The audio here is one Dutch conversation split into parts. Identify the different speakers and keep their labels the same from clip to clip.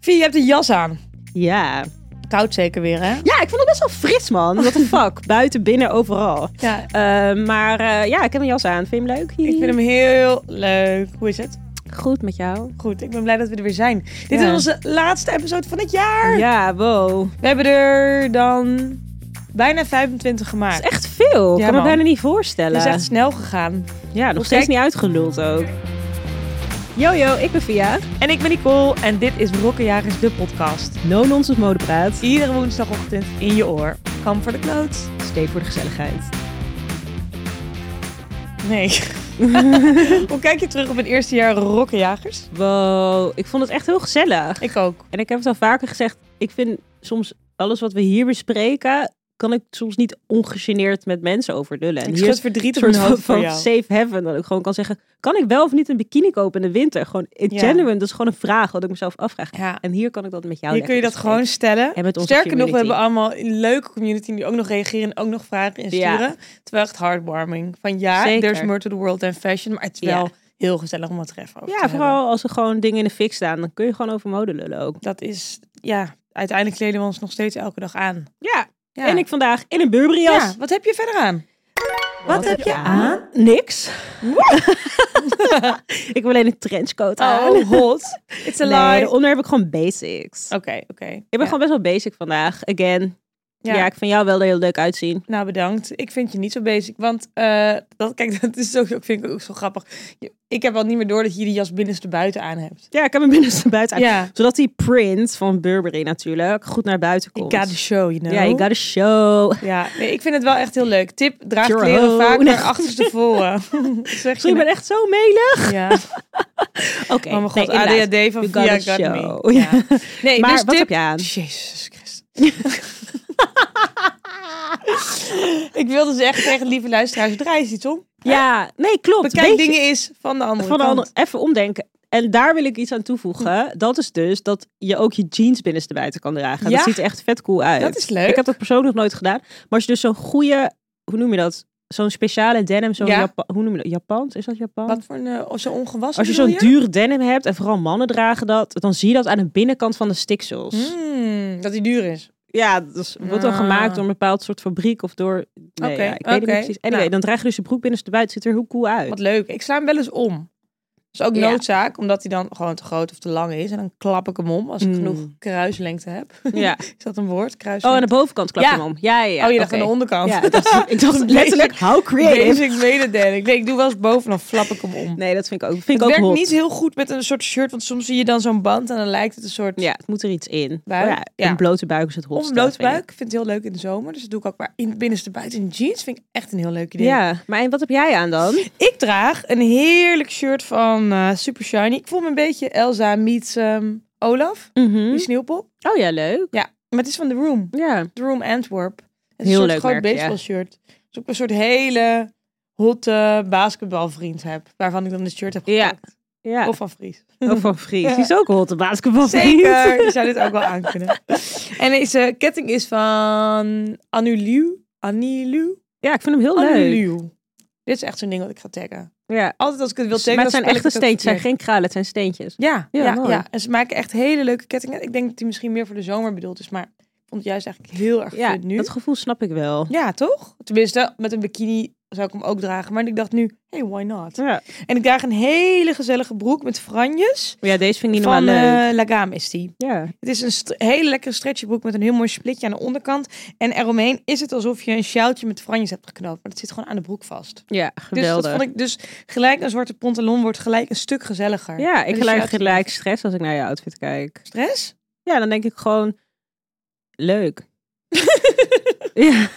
Speaker 1: Vie, je hebt een jas aan.
Speaker 2: Ja.
Speaker 1: Koud zeker weer, hè?
Speaker 2: Ja, ik vond het best wel fris, man. What the fuck? Buiten, binnen, overal.
Speaker 1: Ja.
Speaker 2: Eh, maar eh, ja, ik heb een jas aan. Vind je hem leuk?
Speaker 1: Ik vind hem heel leuk. Hoe is het?
Speaker 2: goed met jou.
Speaker 1: Goed, ik ben blij dat we er weer zijn. Dit
Speaker 2: Ja.
Speaker 1: is onze laatste episode van het jaar.
Speaker 2: Ja, wow.
Speaker 1: We hebben er dan bijna 25
Speaker 2: Dat
Speaker 1: gemaakt.
Speaker 2: is echt veel. Ik
Speaker 1: Ja,
Speaker 2: kan me
Speaker 1: man.
Speaker 2: bijna niet
Speaker 1: Het
Speaker 2: voorstellen.
Speaker 1: is echt snel gegaan.
Speaker 2: Ja, nog
Speaker 1: Of
Speaker 2: steeds
Speaker 1: kijk-
Speaker 2: niet uitgeluld ook. Yo, yo, ik ben Via.
Speaker 1: En ik ben Nicole en dit is Brokkenjagers, de podcast.
Speaker 2: No Nonsense Modepraat.
Speaker 1: Iedere woensdagochtend in je oor. Kam voor de kloot.
Speaker 2: Steek voor de gezelligheid.
Speaker 1: Nee. Hoe kijk je terug op het eerste jaar Rokkenjagers?
Speaker 2: Wow, ik vond het echt heel gezellig.
Speaker 1: Ik ook.
Speaker 2: En ik heb het al vaker gezegd, ik vind soms alles wat we hier bespreken, kan ik soms niet ongegeneerd met mensen over lullen. En
Speaker 1: Ik
Speaker 2: hier
Speaker 1: schud
Speaker 2: is
Speaker 1: verdriet
Speaker 2: een
Speaker 1: op mijn
Speaker 2: soort
Speaker 1: hoofd
Speaker 2: van,
Speaker 1: voor
Speaker 2: van
Speaker 1: jou.
Speaker 2: safe haven, dat ik gewoon kan zeggen, kan ik wel of niet een bikini kopen in de winter? Gewoon, in
Speaker 1: Ja.
Speaker 2: genuine, dat is gewoon een vraag wat ik mezelf afvraag.
Speaker 1: Ja.
Speaker 2: En hier kan ik Nou, dat met jou
Speaker 1: Hier kun je dat
Speaker 2: lekker
Speaker 1: gewoon
Speaker 2: bespreken.
Speaker 1: stellen.
Speaker 2: En met onze
Speaker 1: Sterker nog, we
Speaker 2: community.
Speaker 1: hebben allemaal een leuke community die ook nog reageren en ook nog vragen
Speaker 2: Ja.
Speaker 1: insturen. Terwijl echt heartwarming. Van ja,
Speaker 2: Zeker.
Speaker 1: there's more to the world than fashion. Maar het is
Speaker 2: Ja.
Speaker 1: wel heel gezellig om het er even over te
Speaker 2: Ja,
Speaker 1: hebben.
Speaker 2: vooral als er gewoon dingen in de fik staan, dan kun je gewoon over mode lullen ook.
Speaker 1: Dat is, ja, uiteindelijk kleden we ons nog steeds elke dag aan.
Speaker 2: Ja,
Speaker 1: Ja.
Speaker 2: en ik vandaag in een Burberry jas.
Speaker 1: ja, wat heb je verder aan? Wat, heb je aan?
Speaker 2: Niks. ik heb alleen een trenchcoat aan.
Speaker 1: Oh, hot. It's a
Speaker 2: Nee,
Speaker 1: lie. Oké,
Speaker 2: daaronder heb ik gewoon basics.
Speaker 1: oké.
Speaker 2: Ik ben gewoon best wel basic vandaag. Again. Ja. ik vind jou wel er heel leuk uitzien.
Speaker 1: Nou, bedankt. Ik vind je niet zo basic. Want eh, dat, kijk, dat is ook, vind ik ook zo grappig. Je- Ik heb al niet meer door dat je die jas binnenste buiten aan hebt.
Speaker 2: Ja, ik heb hem binnenste buiten aan.
Speaker 1: Ja.
Speaker 2: Zodat die print van Burberry natuurlijk goed naar buiten
Speaker 1: Ik
Speaker 2: komt.
Speaker 1: got the show, you know.
Speaker 2: Ja, you got a show.
Speaker 1: Ja, nee, ik vind het wel echt heel leuk. Tip, draag
Speaker 2: You're a
Speaker 1: kleren
Speaker 2: hoe.
Speaker 1: vaak
Speaker 2: Nee.
Speaker 1: naar achterstevoren. zeg
Speaker 2: Sorry, ik ben echt zo melig.
Speaker 1: echt... Ja.
Speaker 2: Oké.
Speaker 1: Oh mijn god,
Speaker 2: nee, inderdaad.
Speaker 1: ADHD van
Speaker 2: You got
Speaker 1: Via
Speaker 2: a
Speaker 1: got
Speaker 2: show.
Speaker 1: me. Ja. Nee,
Speaker 2: Maar
Speaker 1: dus
Speaker 2: wat
Speaker 1: tip...
Speaker 2: heb je aan?
Speaker 1: Jezus Christus. ik wilde zeggen tegen lieve luisteraars, draai eens iets om.
Speaker 2: Ja, nee, klopt.
Speaker 1: Bekijk
Speaker 2: Beetje-
Speaker 1: dingen eens van de andere
Speaker 2: van de
Speaker 1: kant.
Speaker 2: andere, even omdenken. En daar wil ik iets aan toevoegen. Dat is dus dat je ook je jeans binnenste buiten kan dragen.
Speaker 1: Ja.
Speaker 2: Dat ziet er echt vet cool uit.
Speaker 1: Dat is leuk.
Speaker 2: Ik heb dat persoonlijk nog nooit gedaan. Maar als je dus zo'n goede, hoe noem je dat? Zo'n speciale denim, zo'n
Speaker 1: Ja.
Speaker 2: Japa- hoe noem je dat? Japans? Is dat Japan?
Speaker 1: Wat voor een eh, zo ongewassen
Speaker 2: Als je zo'n
Speaker 1: bedoel
Speaker 2: duur denim hebt, en vooral mannen dragen dat, dan zie je dat aan de binnenkant van de stiksels.
Speaker 1: Mm, dat die duur is.
Speaker 2: Ja, dat is- wordt dan
Speaker 1: Ah.
Speaker 2: gemaakt door een bepaald soort fabriek of door... Nee,
Speaker 1: Oké,
Speaker 2: ja, ik weet het
Speaker 1: oké.
Speaker 2: niet precies. Anyway,
Speaker 1: Nou.
Speaker 2: dan draag je dus je broek binnenste buiten. Ziet er heel cool uit.
Speaker 1: Wat leuk. Ik sla hem wel eens om. Dat is ook
Speaker 2: Ja.
Speaker 1: noodzaak, omdat hij dan gewoon te groot of te lang is. En dan klap ik hem om als ik
Speaker 2: Mm.
Speaker 1: genoeg kruislengte heb.
Speaker 2: Ja.
Speaker 1: Is dat een woord?
Speaker 2: Oh, aan
Speaker 1: Kruislengte.
Speaker 2: de bovenkant klap je
Speaker 1: Ja.
Speaker 2: hem om. Ja, ja, ja.
Speaker 1: oh, je dacht
Speaker 2: Oké.
Speaker 1: aan de onderkant.
Speaker 2: Ja, ik dacht, ik dacht
Speaker 1: Basic-
Speaker 2: letterlijk, how creative.
Speaker 1: Basic mededeling. Nee, dus ik doe wel eens boven, dan flap ik hem om.
Speaker 2: Nee, dat vind ik ook, vind ik
Speaker 1: het
Speaker 2: ook
Speaker 1: werkt
Speaker 2: hot.
Speaker 1: niet heel goed met een soort shirt, want soms zie je dan zo'n band en dan lijkt het een soort...
Speaker 2: Ja, het moet er iets in.
Speaker 1: Buik,
Speaker 2: Maar
Speaker 1: ja.
Speaker 2: Een blote buik is het
Speaker 1: Of
Speaker 2: hotste.
Speaker 1: een blote
Speaker 2: vind ik.
Speaker 1: buik. Ik vind het heel leuk in de zomer, dus dat doe ik ook. Maar in het binnenste buiten in jeans vind ik echt een heel leuk idee.
Speaker 2: Ja, maar en wat heb jij aan dan?
Speaker 1: Ik draag een heerlijk shirt van eh, Super Shiny. Ik voel me een beetje Elsa meets ehm, Olaf, die sneeuwpop.
Speaker 2: Oh ja, leuk.
Speaker 1: Ja, maar het is van The Room.
Speaker 2: Ja.
Speaker 1: The Room Antwerp. Het is
Speaker 2: Heel
Speaker 1: een soort
Speaker 2: leuk
Speaker 1: groot
Speaker 2: merk, ja.
Speaker 1: baseball shirt. Dus ik een soort hele hotte basketbalvriend heb. Waarvan ik dan het shirt heb
Speaker 2: Ja.
Speaker 1: gepakt.
Speaker 2: ja.
Speaker 1: Of
Speaker 2: Of,
Speaker 1: van Fries.
Speaker 2: van Fries.
Speaker 1: Ja.
Speaker 2: Die is ook een hotte basketbal.
Speaker 1: Zeker, je zou dit ook wel aan kunnen. En deze ketting is van Anuluw. Anuluw?
Speaker 2: Ja, ik vind hem heel Oh,
Speaker 1: Oh,
Speaker 2: leuk.
Speaker 1: Anuluw. Dit is echt zo'n ding wat ik ga taggen.
Speaker 2: Ja.
Speaker 1: Altijd als ik het wil taggen,
Speaker 2: maar het
Speaker 1: dan spel
Speaker 2: zijn
Speaker 1: ik
Speaker 2: echte
Speaker 1: het ook
Speaker 2: steentjes. Het zijn
Speaker 1: verkeerd.
Speaker 2: geen kralen, het zijn steentjes.
Speaker 1: Ja,
Speaker 2: Ja,
Speaker 1: ja, ja,
Speaker 2: mooi.
Speaker 1: En ze maken echt hele leuke kettingen. Ik denk dat die misschien meer voor de zomer bedoeld is, maar ik vond het juist eigenlijk heel erg
Speaker 2: Ja,
Speaker 1: goed nu.
Speaker 2: dat gevoel snap ik wel.
Speaker 1: Ja, toch? Tenminste, met een bikini zou ik hem ook dragen. Maar ik dacht nu, hey, why not?
Speaker 2: Ja,
Speaker 1: En ik draag een hele gezellige broek met franjes.
Speaker 2: ja deze vind ik niet
Speaker 1: Van
Speaker 2: normaal leuk.
Speaker 1: eh, Lagame is die.
Speaker 2: ja.
Speaker 1: Het is een st- hele lekkere stretchybroek met een heel mooi splitje aan de onderkant. En eromheen is het alsof je een sjaaltje met franjes hebt geknoopt. Maar het zit gewoon aan de broek vast.
Speaker 2: ja,
Speaker 1: Dus dat
Speaker 2: geweldig.
Speaker 1: vond ik dus gelijk een zwarte pantalon wordt gelijk een stuk gezelliger.
Speaker 2: Ja,
Speaker 1: Met
Speaker 2: ik
Speaker 1: een
Speaker 2: gelijk,
Speaker 1: sjaaltje.
Speaker 2: gelijk stress als ik naar je outfit kijk.
Speaker 1: Stress?
Speaker 2: Ja, dan denk ik gewoon leuk. ja.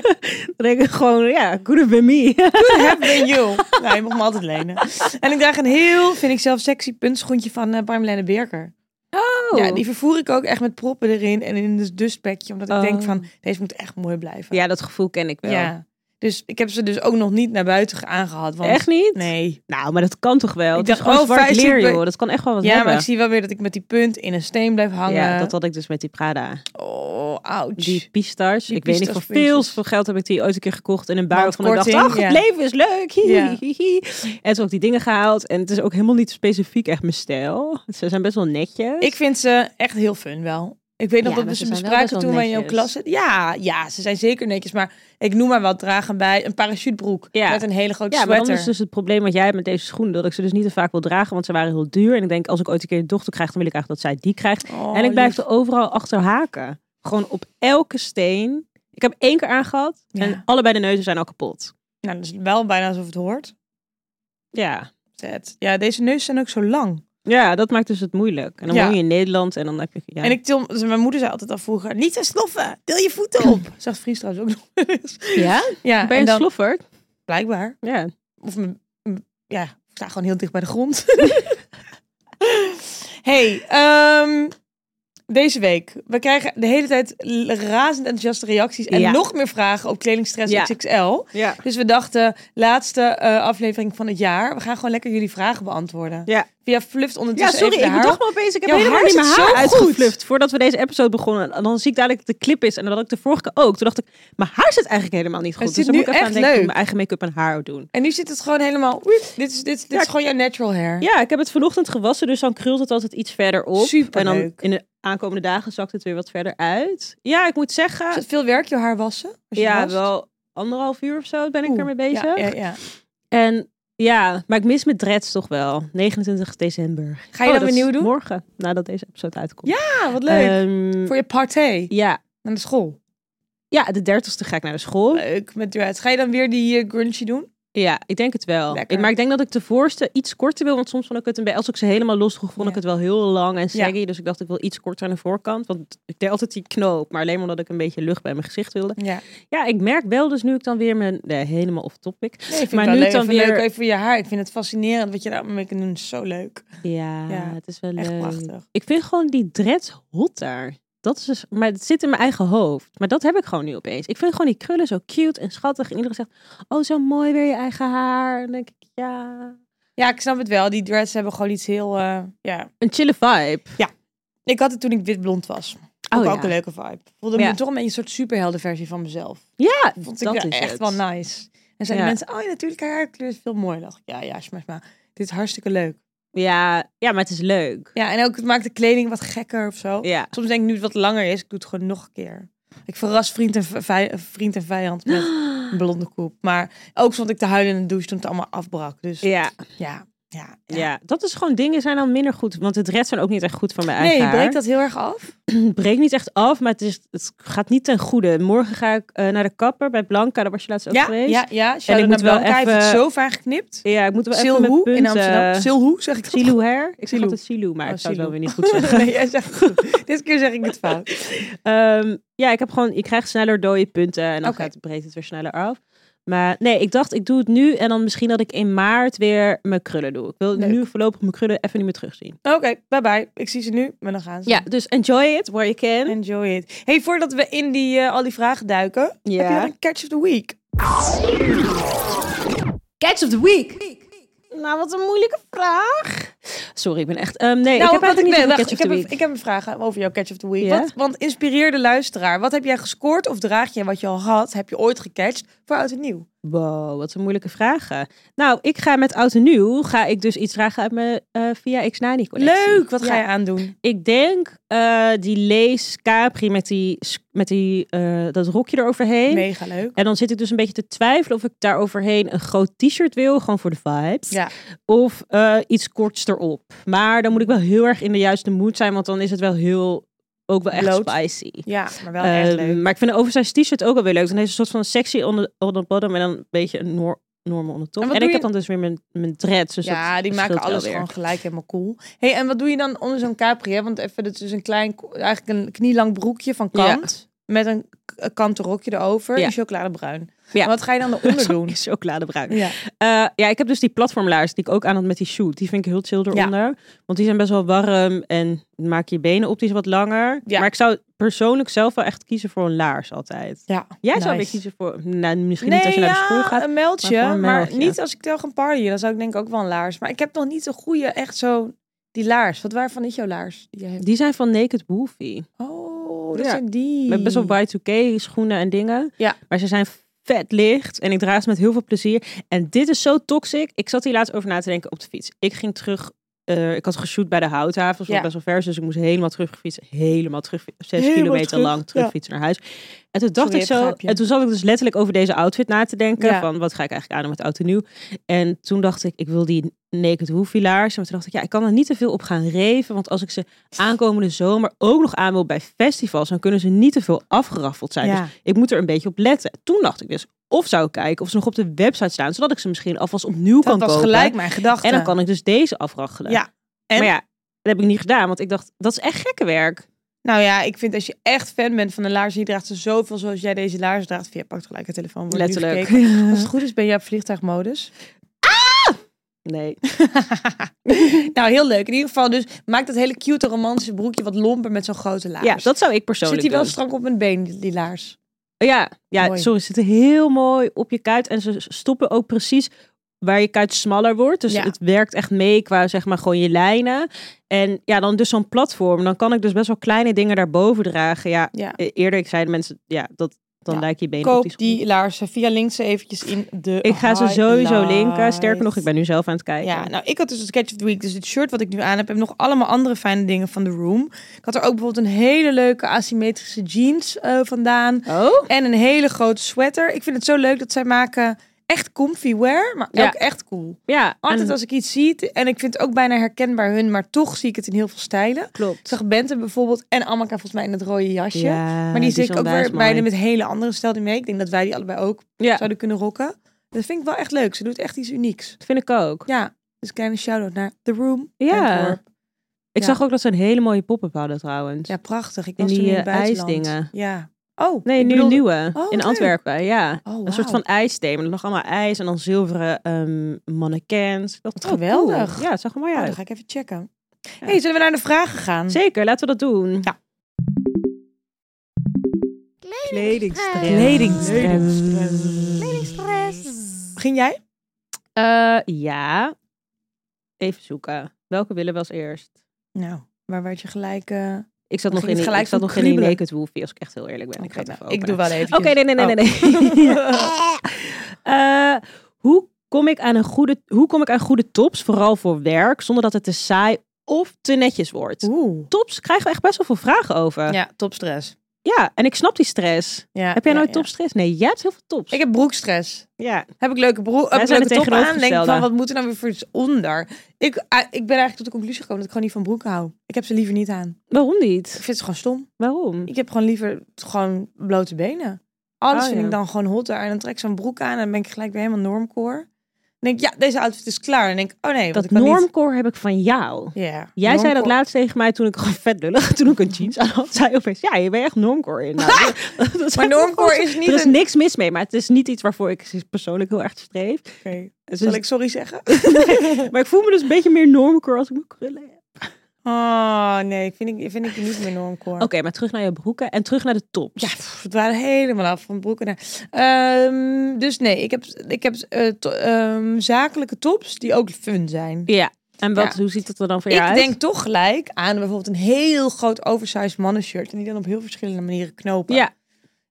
Speaker 2: dan denk ik gewoon, ja, good have been me.
Speaker 1: heb been you. Nou, je mag me altijd lenen. En ik draag een heel, vind ik zelf sexy, puntschoentje van eh Parmelijn Berker.
Speaker 2: Oh.
Speaker 1: Ja, die vervoer ik ook echt met proppen erin en in een dustpackje. Omdat ik
Speaker 2: Oh.
Speaker 1: denk van, deze moet echt mooi blijven.
Speaker 2: ja, dat gevoel ken ik wel.
Speaker 1: Ja. Dus ik heb ze dus ook nog niet naar buiten ge- aangehad. Want...
Speaker 2: Echt niet?
Speaker 1: Nee.
Speaker 2: Nou, maar dat kan toch wel?
Speaker 1: Ik
Speaker 2: Ik dacht,
Speaker 1: dacht,
Speaker 2: oh,
Speaker 1: oh,
Speaker 2: zwart
Speaker 1: vijf-
Speaker 2: leer,
Speaker 1: ik ben-
Speaker 2: joh. Dat kan echt wel wat
Speaker 1: ja, maar
Speaker 2: hebben.
Speaker 1: ik zie wel weer dat ik met die punt in een steen blijf hangen.
Speaker 2: Ja, dat had ik dus met die Prada.
Speaker 1: Oh, wel ouch.
Speaker 2: Die Pistars.
Speaker 1: Die
Speaker 2: ik weet niet, voor veel,
Speaker 1: Pistarspuntjes.
Speaker 2: voor geld heb ik die ooit een keer gekocht. En een bui
Speaker 1: Want
Speaker 2: van ik dacht,
Speaker 1: korting,
Speaker 2: ach, het
Speaker 1: ja.
Speaker 2: leven is leuk. Hi,
Speaker 1: Ja.
Speaker 2: hi, hi, hi. En toen ook die dingen gehaald. En het is ook helemaal niet specifiek echt mijn stijl. Ze zijn best wel netjes.
Speaker 1: Ik vind ze echt heel fun wel. Ik weet nog
Speaker 2: Ja,
Speaker 1: dat we
Speaker 2: maar
Speaker 1: ze
Speaker 2: ze zijn wel best
Speaker 1: bespraken
Speaker 2: wel
Speaker 1: toen wij in jouw
Speaker 2: netjes.
Speaker 1: klas zitten. Ja, ja, ze zijn zeker netjes. Maar ik noem maar wat, dragen bij een parachutebroek
Speaker 2: Ja.
Speaker 1: met een hele grote
Speaker 2: ja, maar dan
Speaker 1: sweater.
Speaker 2: is dus het probleem wat jij hebt met deze schoenen. Dat ik ze dus niet te vaak wil dragen, want ze waren heel duur. En ik denk, als ik ooit een keer een dochter krijg, dan wil ik eigenlijk dat zij die krijgt.
Speaker 1: Oh,
Speaker 2: dus- en ik blijf
Speaker 1: lief.
Speaker 2: er overal achter haken. Gewoon op elke steen. Ik heb één keer aangehad
Speaker 1: Ja.
Speaker 2: en allebei de neuzen zijn al kapot.
Speaker 1: Nou, dat is wel bijna alsof het hoort.
Speaker 2: Ja.
Speaker 1: Zet. Ja, deze neus zijn ook zo lang.
Speaker 2: Ja, dat maakt dus het moeilijk. En dan
Speaker 1: Ja.
Speaker 2: woon je in Nederland en dan heb je... Ja.
Speaker 1: En ik til, dus mijn moeder zei altijd al vroeger, niet te sloffen, til je voeten op. Zegt Fries trouwens ook nog wel eens.
Speaker 2: ja?
Speaker 1: Ja,
Speaker 2: Ben je
Speaker 1: en
Speaker 2: een
Speaker 1: dan,
Speaker 2: slofferd?
Speaker 1: blijkbaar.
Speaker 2: Ja.
Speaker 1: Of, m- m- ja, ik sta gewoon heel dicht bij de grond. hey, ehm, deze week. We krijgen de hele tijd l- razend enthousiaste reacties en
Speaker 2: Ja.
Speaker 1: nog meer vragen op Kledingstress
Speaker 2: Ja.
Speaker 1: XXL.
Speaker 2: Ja.
Speaker 1: Dus we dachten, laatste eh, aflevering van het jaar. We gaan gewoon lekker jullie vragen beantwoorden.
Speaker 2: Ja.
Speaker 1: Via Fluft
Speaker 2: Ja,
Speaker 1: ondertussen
Speaker 2: sorry,
Speaker 1: even de
Speaker 2: ik
Speaker 1: haar
Speaker 2: dacht maar opeens, ik heb
Speaker 1: Jouw
Speaker 2: helemaal
Speaker 1: haar
Speaker 2: niet mijn
Speaker 1: zit
Speaker 2: haar
Speaker 1: zo goed.
Speaker 2: uitgefluft voordat we deze episode begonnen. En dan zie ik dadelijk dat de clip is en dan had ik de vorige keer ook. Toen dacht ik, mijn haar zit eigenlijk helemaal niet goed.
Speaker 1: Het
Speaker 2: dus
Speaker 1: zit
Speaker 2: dan moet
Speaker 1: nu
Speaker 2: ik even aan
Speaker 1: echt
Speaker 2: denken, ik moet
Speaker 1: leuk.
Speaker 2: mijn eigen make-up en haar doen.
Speaker 1: En nu zit het gewoon helemaal... Dit is, dit, dit
Speaker 2: Ja,
Speaker 1: is gewoon jouw natural hair.
Speaker 2: Ja, ik heb het vanochtend gewassen, dus dan krult het altijd iets verder op. en dan
Speaker 1: Superleuk.
Speaker 2: in de aankomende dagen zakt het weer wat verder uit. Ja, ik moet
Speaker 1: Is
Speaker 2: zeggen,
Speaker 1: het veel werk, je haar wassen? Als je
Speaker 2: ja,
Speaker 1: wast?
Speaker 2: wel anderhalf uur of zo ben ik
Speaker 1: Oeh,
Speaker 2: ermee bezig.
Speaker 1: Ja, ja, ja.
Speaker 2: En ja, maar ik mis mijn dreads toch wel. 29 december.
Speaker 1: Ga je
Speaker 2: Oh,
Speaker 1: dat
Speaker 2: is
Speaker 1: weer nieuw doen?
Speaker 2: Morgen, nadat deze episode uitkomt.
Speaker 1: Ah, wat leuk.
Speaker 2: Ehm,
Speaker 1: Voor je partij
Speaker 2: ja,
Speaker 1: aan de school.
Speaker 2: ja, de 30ste ga ik naar de school.
Speaker 1: Leuk, met dreads. Ga je dan weer die eh, grungy doen?
Speaker 2: Ja, ik denk het wel.
Speaker 1: Lekker.
Speaker 2: Ik, maar ik denk dat ik de voorste iets korter wil. Want soms vond ik het een beetje... Als ik ze helemaal los droeg, vond
Speaker 1: Ja.
Speaker 2: ik het wel heel lang en saggy. Dus ik dacht, ik wil iets korter aan de voorkant. Want ik deed altijd die knoop. Maar alleen maar omdat ik een beetje lucht bij mijn gezicht wilde.
Speaker 1: Ja.
Speaker 2: Ja, ik merk wel dus nu ik dan weer mijn... Nee, helemaal off-topic.
Speaker 1: Nee, vind
Speaker 2: Maar
Speaker 1: ik wel
Speaker 2: nu
Speaker 1: leuk.
Speaker 2: dan
Speaker 1: Even leuk,
Speaker 2: weer-
Speaker 1: Even voor je haar. Ik vind het fascinerend wat je daar allemaal mee kan doen. Zo leuk.
Speaker 2: Ja,
Speaker 1: Ja,
Speaker 2: het is wel
Speaker 1: echt
Speaker 2: leuk.
Speaker 1: prachtig.
Speaker 2: Ik vind gewoon die dreads hotter. Dat is dus, maar het zit in mijn eigen hoofd. Maar dat heb ik gewoon nu opeens. Ik vind gewoon die krullen zo cute en schattig. En iedereen zegt, oh zo mooi weer je eigen haar. En dan denk ik, ja...
Speaker 1: Ja, ik snap het wel. Die dreads hebben gewoon iets heel... eh, ja.
Speaker 2: Een chille vibe. Oh
Speaker 1: Ik had het toen ik witblond was. Ook, ook een leuke vibe. Voelde
Speaker 2: Ja.
Speaker 1: me toch een beetje een soort superheldenversie van mezelf.
Speaker 2: Ja,
Speaker 1: Vond ik
Speaker 2: dat
Speaker 1: wel
Speaker 2: is
Speaker 1: echt
Speaker 2: het.
Speaker 1: wel nice. En zeiden
Speaker 2: Ja.
Speaker 1: mensen, oh ja, natuurlijk, haar haarkleur is veel mooier. Dacht ik, ja, ja, smash maar. Dit is hartstikke leuk.
Speaker 2: Ja, ja, maar het is leuk.
Speaker 1: Ja, en ook het maakt de kleding wat gekker of zo.
Speaker 2: Ja.
Speaker 1: Soms denk ik nu het wat langer is, ik doe het gewoon nog een keer. Ik verras vriend en, v- vij- vriend en vijand met een blonde koep. Maar ook stond ik te huilen in de douche toen het allemaal afbrak. Dus ja,
Speaker 2: Ja,
Speaker 1: ja, ja.
Speaker 2: ja, dat is gewoon dingen zijn dan minder goed. Want het redt zijn ook niet echt goed van mijn eigen
Speaker 1: Nee,
Speaker 2: haar.
Speaker 1: breekt dat heel erg af?
Speaker 2: Het breekt niet echt af, maar het, is, het gaat niet ten goede. Morgen ga ik eh, naar de kapper bij Blanca, daar was je laatst ook
Speaker 1: ja,
Speaker 2: geweest.
Speaker 1: ja, ja. Shout
Speaker 2: ik
Speaker 1: out naar
Speaker 2: moet wel
Speaker 1: Blanca, hij heeft het
Speaker 2: even-
Speaker 1: zo vaak geknipt.
Speaker 2: ja, ik moet wel even mijn eh,
Speaker 1: Silhoe
Speaker 2: punten...
Speaker 1: in Amsterdam. Silhoe, zeg ik dat
Speaker 2: Silou Hair? Ik zeg
Speaker 1: Silou.
Speaker 2: altijd Silou, maar
Speaker 1: Oh,
Speaker 2: ik zou het
Speaker 1: Silou.
Speaker 2: wel weer niet goed zeggen.
Speaker 1: nee, jij zegt het goed. Dit keer zeg ik het fout.
Speaker 2: Ehm, ja, ik heb gewoon, ik krijg sneller dode punten en dan
Speaker 1: Oké.
Speaker 2: gaat, breekt het weer sneller af. Maar nee, ik dacht, ik doe het nu en dan misschien dat ik in maart weer mijn krullen doe. Ik wil
Speaker 1: Leuk.
Speaker 2: nu voorlopig mijn krullen even niet meer terugzien.
Speaker 1: Oké, bye bye. Ik zie ze nu, maar dan gaan ze.
Speaker 2: Ja, dus enjoy it where you can.
Speaker 1: Enjoy it. Hey, voordat we in die, eh, al die vragen duiken,
Speaker 2: Ja.
Speaker 1: heb je nog een catch of the week?
Speaker 2: Catch of the week. Nou, wat een moeilijke vraag. Sorry, ik ben echt. ehm, nee, ik heb
Speaker 1: Nou, wat
Speaker 2: eigenlijk niet
Speaker 1: nee,
Speaker 2: een
Speaker 1: wacht,
Speaker 2: catch of
Speaker 1: ik,
Speaker 2: the
Speaker 1: heb
Speaker 2: week.
Speaker 1: Een, ik heb een vraag over jouw Catch of the Week.
Speaker 2: Ja?
Speaker 1: Wat, want inspireer de luisteraar. Wat heb jij gescoord of draag je wat je al had, heb je ooit gecatcht voor oud en nieuw?
Speaker 2: Wow, wat een moeilijke vragen. Nou, ik ga met oud en nieuw ga ik dus iets vragen uit mijn eh, via Xnani collectie.
Speaker 1: Leuk, wat
Speaker 2: Ja.
Speaker 1: ga je aandoen?
Speaker 2: Ik denk eh, die Lees Capri met, die, s- met die, eh, dat rokje eroverheen.
Speaker 1: Mega leuk.
Speaker 2: En dan zit ik dus een beetje te twijfelen of ik daar overheen een groot t-shirt wil, gewoon voor de vibes.
Speaker 1: Ja.
Speaker 2: Of eh, iets korts erop. Maar dan moet ik wel heel erg in de juiste mood zijn, want dan is het wel heel, ook wel echt
Speaker 1: Bloot.
Speaker 2: spicy.
Speaker 1: Ja, maar wel echt
Speaker 2: Ehm,
Speaker 1: leuk.
Speaker 2: maar ik vind een oversized t-shirt ook alweer leuk. Dan heeft ze een soort van sexy on the, on the bottom en dan een beetje een noor, normal on the top.
Speaker 1: En
Speaker 2: En,
Speaker 1: wat
Speaker 2: ik
Speaker 1: doe
Speaker 2: heb
Speaker 1: je-
Speaker 2: dan dus weer mijn, mijn dreads. Dus
Speaker 1: ja,
Speaker 2: dat
Speaker 1: die
Speaker 2: scheelt
Speaker 1: maken
Speaker 2: wel
Speaker 1: alles
Speaker 2: weer.
Speaker 1: gewoon gelijk helemaal cool. hey, en wat doe je dan onder zo'n capri? Hè? Want even, dat is dus een klein, eigenlijk een knielang broekje van
Speaker 2: Ja.
Speaker 1: kant. Met een k- kanten rokje erover
Speaker 2: Ja.
Speaker 1: en chocoladebruin.
Speaker 2: Ja.
Speaker 1: En wat ga je dan eronder doen?
Speaker 2: Chocoladebruin.
Speaker 1: Ja.
Speaker 2: Eh, ja, ik heb dus die platformlaars die ik ook aan had met die shoot. Die vind ik heel chill eronder. Want die zijn best wel warm en maak je benen optisch wat langer.
Speaker 1: Ja.
Speaker 2: Maar ik zou persoonlijk zelf wel echt kiezen voor een laars altijd.
Speaker 1: Ja,
Speaker 2: Jij zou weer
Speaker 1: nice.
Speaker 2: kiezen voor... Nou, misschien niet als je naar de
Speaker 1: ja,
Speaker 2: school gaat.
Speaker 1: een meldje,
Speaker 2: maar voor
Speaker 1: maar,
Speaker 2: een meldje.
Speaker 1: niet als ik wel gaan partyen. Dan zou ik denk ik ook wel een laars. Maar ik heb nog niet een goede, echt zo die laars. Wat waarvan is jouw laars? Die jij hebt?
Speaker 2: Die zijn van Naked Wolfie.
Speaker 1: Oh, oh, dat
Speaker 2: Ja.
Speaker 1: zijn die.
Speaker 2: Met best wel Y2K schoenen en dingen.
Speaker 1: Ja.
Speaker 2: Maar ze zijn vet licht en ik draag ze met heel veel plezier. En dit is zo toxic. Ik zat hier laatst over na te denken op de fiets. Ik ging terug. eh, ik had geshoot bij de houthaven, dat was
Speaker 1: Ja.
Speaker 2: best wel ver. Dus ik moest helemaal terugfietsen. Helemaal terug, zes
Speaker 1: Helemaal
Speaker 2: kilometer
Speaker 1: terug,
Speaker 2: lang terugfietsen naar huis. En toen dacht
Speaker 1: Sorry,
Speaker 2: ik
Speaker 1: ik
Speaker 2: zo,
Speaker 1: begrijp je.
Speaker 2: en toen zat ik dus letterlijk over deze outfit na te denken.
Speaker 1: Ja.
Speaker 2: Van wat ga ik eigenlijk aan doen met oud en nieuw. En toen dacht ik, ik wil die naked hoefilaars. Maar toen dacht ik, ja, ik kan er niet te veel op gaan reven. Want als ik ze aankomende zomer ook nog aan wil bij festivals, dan kunnen ze niet te veel afgeraffeld zijn.
Speaker 1: Ja.
Speaker 2: Dus ik moet er een beetje op letten. Toen dacht ik dus, of zou ik kijken of ze nog op de website staan, zodat ik ze misschien alvast opnieuw kan
Speaker 1: Dat was
Speaker 2: kopen.
Speaker 1: gelijk mijn gedachte.
Speaker 2: En dan kan ik dus deze afraffelen.
Speaker 1: Ja. En?
Speaker 2: Maar ja, dat heb ik niet gedaan, want ik dacht, dat is echt gekke werk.
Speaker 1: Nou ja, ik vind als je echt fan bent van de laars, en je draagt ze zoveel zoals jij deze laars draagt. Je pakt gelijk een telefoon. wordt nu
Speaker 2: Letterlijk.
Speaker 1: gekeken. Als het goed is, ben je op vliegtuigmodus.
Speaker 2: Nee.
Speaker 1: nou, heel leuk. In ieder geval, dus maak dat hele cute romantische broekje wat lomper met zo'n grote laars.
Speaker 2: Ja, dat
Speaker 1: dus
Speaker 2: zou ik
Speaker 1: Zit
Speaker 2: persoonlijk dus.
Speaker 1: die wel
Speaker 2: doen.
Speaker 1: strak op mijn been, die, die laars?
Speaker 2: Ja, ja
Speaker 1: Mooi.
Speaker 2: sorry, ze zitten heel mooi op je kuit. En ze stoppen ook precies waar je kuit smaller wordt. Dus
Speaker 1: Ja.
Speaker 2: het werkt echt mee qua zeg maar gewoon je lijnen. En ja, dan dus zo'n platform. Dan kan ik dus best wel kleine dingen daarboven dragen. Ja,
Speaker 1: Ja.
Speaker 2: e- eerder ik zei de mensen, ja, dat, dan
Speaker 1: Ja.
Speaker 2: lijkt je benen op
Speaker 1: Koop
Speaker 2: die
Speaker 1: die
Speaker 2: schoen.
Speaker 1: laarsen via links eventjes in de
Speaker 2: Ik ga ze sowieso linken. Sterker nog, ik ben nu zelf aan het kijken.
Speaker 1: Ja, nou, ik had dus het Catch of the Week. Dus het shirt wat ik nu aan heb, heb nog allemaal andere fijne dingen van The Room. Ik had er ook bijvoorbeeld een hele leuke asymmetrische jeans eh, vandaan.
Speaker 2: Oh?
Speaker 1: En een hele grote sweater. Ik vind het zo leuk dat zij maken echt comfy wear, maar
Speaker 2: Ja.
Speaker 1: ook echt cool.
Speaker 2: Ja,
Speaker 1: Altijd
Speaker 2: en-
Speaker 1: als ik iets zie, t- en ik vind het ook bijna herkenbaar hun, maar toch zie ik het in heel veel stijlen. Ik
Speaker 2: klopt.
Speaker 1: zag Bente bijvoorbeeld en Amaka volgens mij in het rode jasje. maar die zie ik ook weer beide
Speaker 2: bij
Speaker 1: met hele andere stijl die mee. Ik denk dat wij die allebei ook
Speaker 2: Ja,
Speaker 1: zouden kunnen rocken. Dat vind ik wel echt leuk. Ze doet echt iets unieks.
Speaker 2: dat vind ik ook.
Speaker 1: Ja, dus kleine shout-out naar The Room.
Speaker 2: Ja.
Speaker 1: Antwerp.
Speaker 2: Ik
Speaker 1: Ja.
Speaker 2: zag ook dat ze een hele mooie pop-up hadden trouwens.
Speaker 1: Ja, prachtig. Ik
Speaker 2: In
Speaker 1: was toen
Speaker 2: die,
Speaker 1: in het
Speaker 2: eh,
Speaker 1: buitenland.
Speaker 2: ijsdingen.
Speaker 1: Ja. Oh,
Speaker 2: Nee,
Speaker 1: ik
Speaker 2: nu
Speaker 1: bedoel-
Speaker 2: een nieuwe.
Speaker 1: Oh,
Speaker 2: in
Speaker 1: leuk.
Speaker 2: Antwerpen, ja.
Speaker 1: Oh,
Speaker 2: Een soort
Speaker 1: wauw.
Speaker 2: van ijsthema. Er lag allemaal ijs en dan zilveren ehm mannequins. Ik dacht,
Speaker 1: Wat
Speaker 2: oh, cool.
Speaker 1: geweldig.
Speaker 2: Ja, het zag er mooi
Speaker 1: Oh,
Speaker 2: uit.
Speaker 1: dan ga ik even checken. hey, zullen we naar de vragen gaan?
Speaker 2: Zeker, laten we dat doen.
Speaker 1: Ja.
Speaker 2: Kledingstress.
Speaker 1: Kledingstress.
Speaker 3: Kledingstress.
Speaker 1: Begin jij?
Speaker 2: Eh, ja. Even zoeken. Welke willen we als eerst?
Speaker 1: Nou, waar werd je gelijk... eh,
Speaker 2: Ik
Speaker 1: Dan
Speaker 2: zat nog
Speaker 1: ging
Speaker 2: in
Speaker 1: het
Speaker 2: die,
Speaker 1: gelijk
Speaker 2: ik zat
Speaker 1: van
Speaker 2: nog in die
Speaker 1: kriebelen.
Speaker 2: naked wolfie, als ik echt heel eerlijk ben.
Speaker 1: Oké,
Speaker 2: ik ga het
Speaker 1: nou,
Speaker 2: even
Speaker 1: ik
Speaker 2: openen.
Speaker 1: doe wel even.
Speaker 2: Oké, nee, nee, nee,
Speaker 1: oh.
Speaker 2: nee. Eh, hoe kom ik aan een goede, hoe kom ik aan goede tops, vooral voor werk, zonder dat het te saai of te netjes wordt?
Speaker 1: Oeh.
Speaker 2: Tops krijgen we echt best wel veel vragen over. Ja,
Speaker 1: Ja, topstress.
Speaker 2: en ik snap die stress.
Speaker 1: Ja,
Speaker 2: heb jij
Speaker 1: ja,
Speaker 2: nooit
Speaker 1: ja.
Speaker 2: topstress? Nee, jij hebt heel veel tops.
Speaker 1: Ik heb broekstress.
Speaker 2: ja.
Speaker 1: Heb ik leuke broek, heb ik
Speaker 2: zijn
Speaker 1: leuke
Speaker 2: het
Speaker 1: top aan, denk ik
Speaker 2: tegenovergestelde.
Speaker 1: van wat moet er nou weer voor iets onder? Ik, ah, ik ben eigenlijk tot de conclusie gekomen dat ik gewoon niet van broeken hou. Ik heb ze liever niet aan.
Speaker 2: Waarom
Speaker 1: Ik
Speaker 2: niet?
Speaker 1: vind ze gewoon stom.
Speaker 2: Waarom?
Speaker 1: Ik heb gewoon liever t- gewoon blote benen. Alles
Speaker 2: Oh,
Speaker 1: vind
Speaker 2: ja.
Speaker 1: ik dan gewoon hotter. En dan trek ik zo'n broek aan en dan ben ik gelijk weer helemaal normcore. Dan denk ik, ja, deze outfit is klaar. En dan denk ik, oh nee, want
Speaker 2: Dat
Speaker 1: ik kan niet-
Speaker 2: normcore heb ik van jou.
Speaker 1: Ja.
Speaker 2: Jij zei dat
Speaker 1: normcore.
Speaker 2: laatst tegen mij toen ik gewoon vet lullig, toen ik een jeans aan had, zei je opeens, ja, je bent echt normcore in. Nou, dat- dat
Speaker 1: Maar
Speaker 2: zijn
Speaker 1: normcore
Speaker 2: gewoon-
Speaker 1: is niet
Speaker 2: Er is
Speaker 1: een...
Speaker 2: niks mis mee, maar het is niet iets waarvoor ik persoonlijk heel erg streef.
Speaker 1: Oké,
Speaker 2: Dus-
Speaker 1: Zal ik sorry zeggen?
Speaker 2: Maar ik voel me dus een beetje meer normcore als ik mijn krullen heb.
Speaker 1: Oh nee, vind ik, vind ik niet meer normcore.
Speaker 2: Oké, maar terug naar je broeken en terug naar de tops.
Speaker 1: Ja, pff, het waren helemaal af van broeken naar. Ehm, dus nee, ik heb, ik heb eh, to- ehm, zakelijke tops die ook fun zijn.
Speaker 2: Ja. En wat,
Speaker 1: Ja.
Speaker 2: hoe ziet het er dan voor jou
Speaker 1: ik
Speaker 2: uit?
Speaker 1: denk toch gelijk aan bijvoorbeeld een heel groot oversized mannenshirt. En die dan op heel verschillende manieren knopen.
Speaker 2: Ja.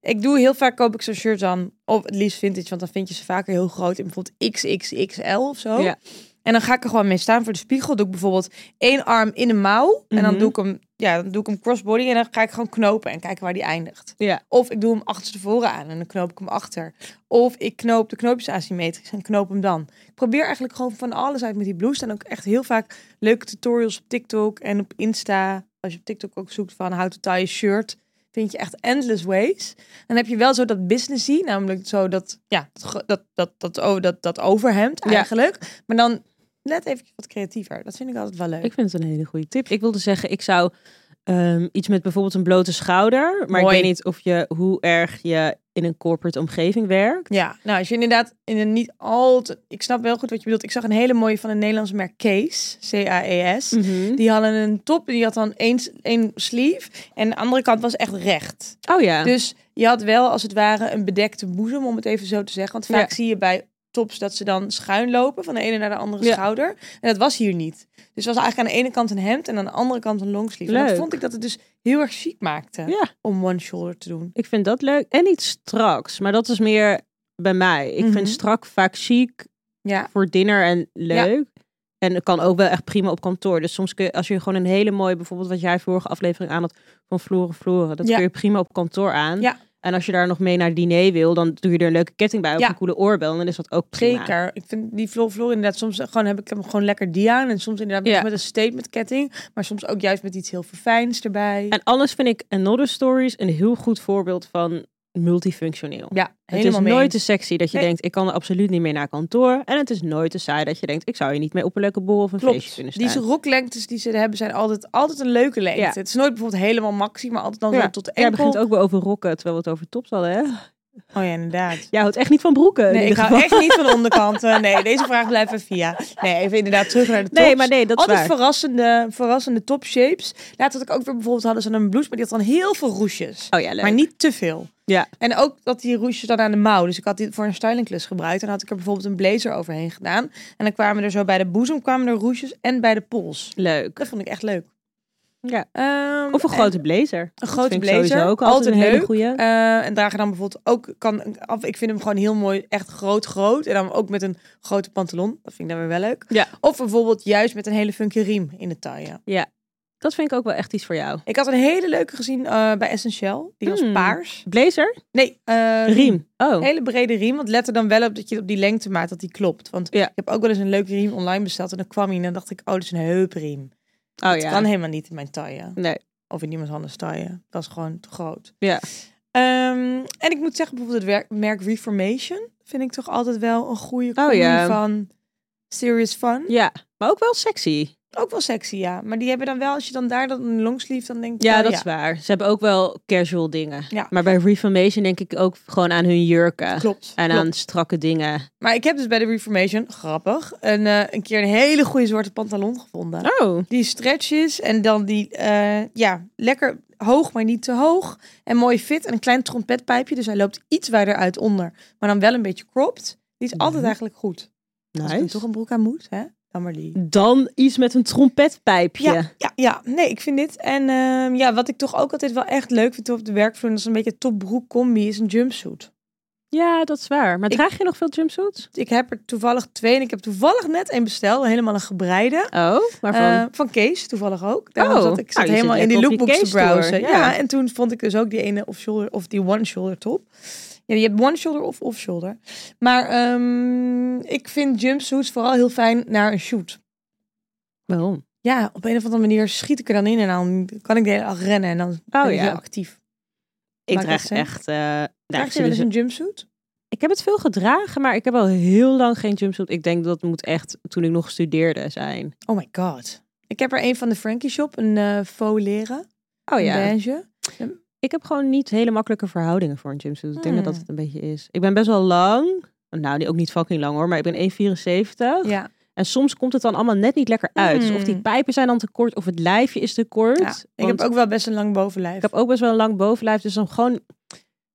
Speaker 1: Ik doe heel vaak, koop ik zo'n shirt dan, of het liefst vintage, want dan vind je ze vaker heel groot in bijvoorbeeld XXXL of zo.
Speaker 2: Ja.
Speaker 1: En dan ga ik er gewoon mee staan voor de spiegel. Doe ik bijvoorbeeld één arm in een mouw. En dan
Speaker 2: Mhm.
Speaker 1: doe ik hem, ja, dan doe ik hem crossbody. En dan ga ik gewoon knopen en kijken waar die eindigt.
Speaker 2: Ja.
Speaker 1: Of ik doe hem achterstevoren aan en dan knoop ik hem achter. Of ik knoop de knoopjes asymmetrisch en knoop hem dan. Ik probeer eigenlijk gewoon van alles uit met die blouse. En ook echt heel vaak leuke tutorials op TikTok en op Insta. Als je op TikTok ook zoekt van how to tie a shirt, vind je echt endless ways. Dan heb je wel zo dat businessy, namelijk zo dat, ja, dat, ge- dat, dat, dat, o- dat, dat overhemd
Speaker 2: Ja.
Speaker 1: eigenlijk. Maar dan net even wat creatiever. Dat vind ik altijd wel leuk.
Speaker 2: Ik vind het een hele goede tip. Ik wilde zeggen, ik zou ehm, iets met bijvoorbeeld een blote schouder. Maar
Speaker 1: Mooi.
Speaker 2: ik weet niet of je, hoe erg je in een corporate omgeving werkt.
Speaker 1: Ja, nou als je inderdaad in een niet al te... Ik snap wel goed wat je bedoelt. Ik zag een hele mooie van een Nederlands merk Case, C-A-E-S.
Speaker 2: Mhm. Hm?
Speaker 1: Die hadden een top en die had dan één, s- één sleeve en de andere kant was echt recht.
Speaker 2: Oh ja.
Speaker 1: Dus je had wel als het ware een bedekte boezem, om het even zo te zeggen. Want vaak
Speaker 2: Ja.
Speaker 1: zie je bij tops dat ze dan schuin lopen van de ene naar de andere
Speaker 2: Ja.
Speaker 1: schouder. En dat was hier niet. Dus het was eigenlijk aan de ene kant een hemd en aan de andere kant een longsleeve. En dat
Speaker 2: Leuk.
Speaker 1: vond ik dat het dus heel erg chic maakte
Speaker 2: Ja.
Speaker 1: om one shoulder te doen.
Speaker 2: Ik vind dat leuk. En niet straks, maar dat is meer bij mij. Ik
Speaker 1: Mhm.
Speaker 2: vind strak vaak chic
Speaker 1: Ja,
Speaker 2: voor dinner en leuk. En het kan ook wel echt prima op kantoor. Dus soms kun je, als je gewoon een hele mooie, bijvoorbeeld wat jij vorige aflevering aan had van Floren Floren, dat
Speaker 1: Ja.
Speaker 2: kun je prima op kantoor aan.
Speaker 1: Ja.
Speaker 2: En als je daar nog mee naar het diner wil, dan doe je er een leuke ketting bij of
Speaker 1: Ja.
Speaker 2: een coole oorbel. En dan is dat ook prima.
Speaker 1: zeker. Ik vind die floor floor inderdaad soms gewoon heb ik hem gewoon lekker die aan. En soms inderdaad
Speaker 2: Ja.
Speaker 1: met een statement ketting. Maar soms ook juist met iets heel verfijns erbij.
Speaker 2: En alles vind ik Another Stories een heel goed voorbeeld van multifunctioneel.
Speaker 1: ja,
Speaker 2: Het is
Speaker 1: helemaal mee
Speaker 2: nooit te
Speaker 1: eens.
Speaker 2: sexy dat je
Speaker 1: Nee.
Speaker 2: denkt, ik kan er absoluut niet mee naar kantoor. En het is nooit te saai dat je denkt, ik zou je niet mee op een leuke borrel of een feestje kunnen
Speaker 1: Klopt.
Speaker 2: staan.
Speaker 1: Die roklengtes die ze hebben zijn altijd, altijd een leuke lengte.
Speaker 2: Ja.
Speaker 1: Het is nooit bijvoorbeeld helemaal maxi, maar altijd dan
Speaker 2: Ja.
Speaker 1: zo tot de
Speaker 2: Jij
Speaker 1: enkel.
Speaker 2: begint ook weer over rokken, terwijl we het over tops hadden, hè?
Speaker 1: Oh ja, inderdaad.
Speaker 2: Jij houdt echt niet van broeken. in
Speaker 1: Nee, ik
Speaker 2: ieder
Speaker 1: hou
Speaker 2: geval.
Speaker 1: echt niet van de onderkanten. Nee, deze vraag blijft even via. Nee, even inderdaad terug naar de tops.
Speaker 2: Nee, maar nee, dat is
Speaker 1: Altijd
Speaker 2: waar.
Speaker 1: verrassende, verrassende topshapes. Laatst had ik ook weer bijvoorbeeld hadden ze een blouse, maar die had dan heel veel roesjes.
Speaker 2: Oh ja, leuk.
Speaker 1: Maar niet te veel.
Speaker 2: Ja.
Speaker 1: En ook dat die roesjes dan aan de mouw. Dus ik had die voor een stylingklus gebruikt. En dan had ik er bijvoorbeeld een blazer overheen gedaan. En dan kwamen er zo bij de boezem kwamen er roesjes en bij de pols.
Speaker 2: Leuk.
Speaker 1: Dat vond ik echt leuk.
Speaker 2: Ja.
Speaker 1: Ehm,
Speaker 2: Of een
Speaker 1: en-
Speaker 2: grote blazer.
Speaker 1: Een grote
Speaker 2: vind ik
Speaker 1: blazer.
Speaker 2: sowieso ook
Speaker 1: altijd,
Speaker 2: altijd een hele
Speaker 1: leuk.
Speaker 2: goeie.
Speaker 1: Eh, en dragen dan bijvoorbeeld ook kan af. Ik vind hem gewoon heel mooi, echt groot, groot. En dan ook met een grote pantalon. Dat vind ik dan weer wel leuk.
Speaker 2: Ja.
Speaker 1: Of bijvoorbeeld juist met een hele funky riem in de taille.
Speaker 2: Dat vind ik ook wel echt iets voor jou.
Speaker 1: Ik had een hele leuke gezien eh, bij Essentiel. Die was
Speaker 2: Hmm.
Speaker 1: paars.
Speaker 2: Blazer?
Speaker 1: Nee, eh,
Speaker 2: Riem. Oh.
Speaker 1: Een hele brede riem. Want let er dan wel op dat je op die lengte maakt dat die klopt. Want
Speaker 2: Ja.
Speaker 1: ik heb ook wel eens een leuke riem online besteld. En dan kwam hij en dan dacht ik, oh, dat is een heupriem.
Speaker 2: Oh
Speaker 1: Dat
Speaker 2: ja.
Speaker 1: kan helemaal niet in mijn taille.
Speaker 2: Nee.
Speaker 1: Of in iemand anders taille. Dat is gewoon te groot.
Speaker 2: Ja.
Speaker 1: Ehm, en ik moet zeggen, bijvoorbeeld het werk- merk Reformation vind ik toch altijd wel een goede combi
Speaker 2: Oh ja.
Speaker 1: van serious fun.
Speaker 2: Ja. Maar ook wel sexy.
Speaker 1: Ook wel sexy, ja. Maar die hebben dan wel, als je dan daar dan een longsleeve, dan denk ik,
Speaker 2: Oh Ja,
Speaker 1: wel,
Speaker 2: dat is waar. Ze hebben ook wel casual dingen.
Speaker 1: Ja.
Speaker 2: Maar bij Reformation denk ik ook gewoon aan hun jurken.
Speaker 1: Klopt.
Speaker 2: En
Speaker 1: klopt.
Speaker 2: aan strakke dingen.
Speaker 1: Maar ik heb dus bij de Reformation, grappig, een, eh, een keer een hele goede zwarte pantalon gevonden.
Speaker 2: Oh.
Speaker 1: Die stretches en dan die, eh, ja, lekker hoog, maar niet te hoog. En mooi fit en een klein trompetpijpje. Dus hij loopt iets wijder uit onder, maar dan wel een beetje cropped. Die is altijd
Speaker 2: Mhm.
Speaker 1: eigenlijk goed. Als ik er toch
Speaker 2: Nice.
Speaker 1: een broek aan moet, hè? Dan maar die.
Speaker 2: Dan iets met een trompetpijpje.
Speaker 1: Ja, ja, ja. Nee, ik vind dit. En ehm, ja, wat ik toch ook altijd wel echt leuk vind op de werkvloer... dat is een beetje topbroek combi, is een jumpsuit.
Speaker 2: Ja, dat is waar. Maar
Speaker 1: Ik-
Speaker 2: draag je nog veel jumpsuits?
Speaker 1: Ik heb er toevallig twee en ik heb toevallig net een besteld. Helemaal een gebreide.
Speaker 2: Oh, waarvan?
Speaker 1: eh, van Kees, toevallig ook. Daarom
Speaker 2: Oh,
Speaker 1: zat ik zat
Speaker 2: nou, je
Speaker 1: helemaal
Speaker 2: zit
Speaker 1: in die
Speaker 2: lekker op je
Speaker 1: lookbooks te
Speaker 2: Kees-tour,
Speaker 1: browsen. Ja.
Speaker 2: ja.
Speaker 1: en toen vond ik dus ook die ene off-shoulder of die one-shoulder top. Ja, je hebt one-shoulder of off-shoulder. Maar ehm, ik vind jumpsuits vooral heel fijn naar een shoot.
Speaker 2: Waarom?
Speaker 1: Ja, op een of andere manier schiet ik er dan in en dan kan ik de hele dag rennen en dan ben ik
Speaker 2: Oh ja.
Speaker 1: heel actief.
Speaker 2: Ik
Speaker 1: Maakt
Speaker 2: draag
Speaker 1: dat zin?
Speaker 2: echt... eh, nou,
Speaker 1: Draag
Speaker 2: ik
Speaker 1: je
Speaker 2: zie
Speaker 1: wel
Speaker 2: dus
Speaker 1: eens een jumpsuit?
Speaker 2: Ik heb het veel gedragen, maar ik heb al heel lang geen jumpsuit. Ik denk dat moet echt toen ik nog studeerde zijn.
Speaker 1: Oh my god. Ik heb er een van de Frankie Shop, een eh faux leren,
Speaker 2: Oh
Speaker 1: een
Speaker 2: ja.
Speaker 1: beige.
Speaker 2: Ik heb gewoon niet hele makkelijke verhoudingen voor een jumpsuit. Ik denk dat dat
Speaker 1: Hmm.
Speaker 2: het een beetje is. Ik ben best wel lang. Nou, die ook niet fucking lang hoor, maar ik ben 1,74.
Speaker 1: Ja.
Speaker 2: En soms komt het dan allemaal net niet lekker uit. Dus of die
Speaker 1: Hmm.
Speaker 2: pijpen zijn dan te kort, of het lijfje is te kort.
Speaker 1: ja. Ik
Speaker 2: Want
Speaker 1: heb ook wel best een lang bovenlijf.
Speaker 2: ik heb ook best wel een lang bovenlijf, dus dan gewoon...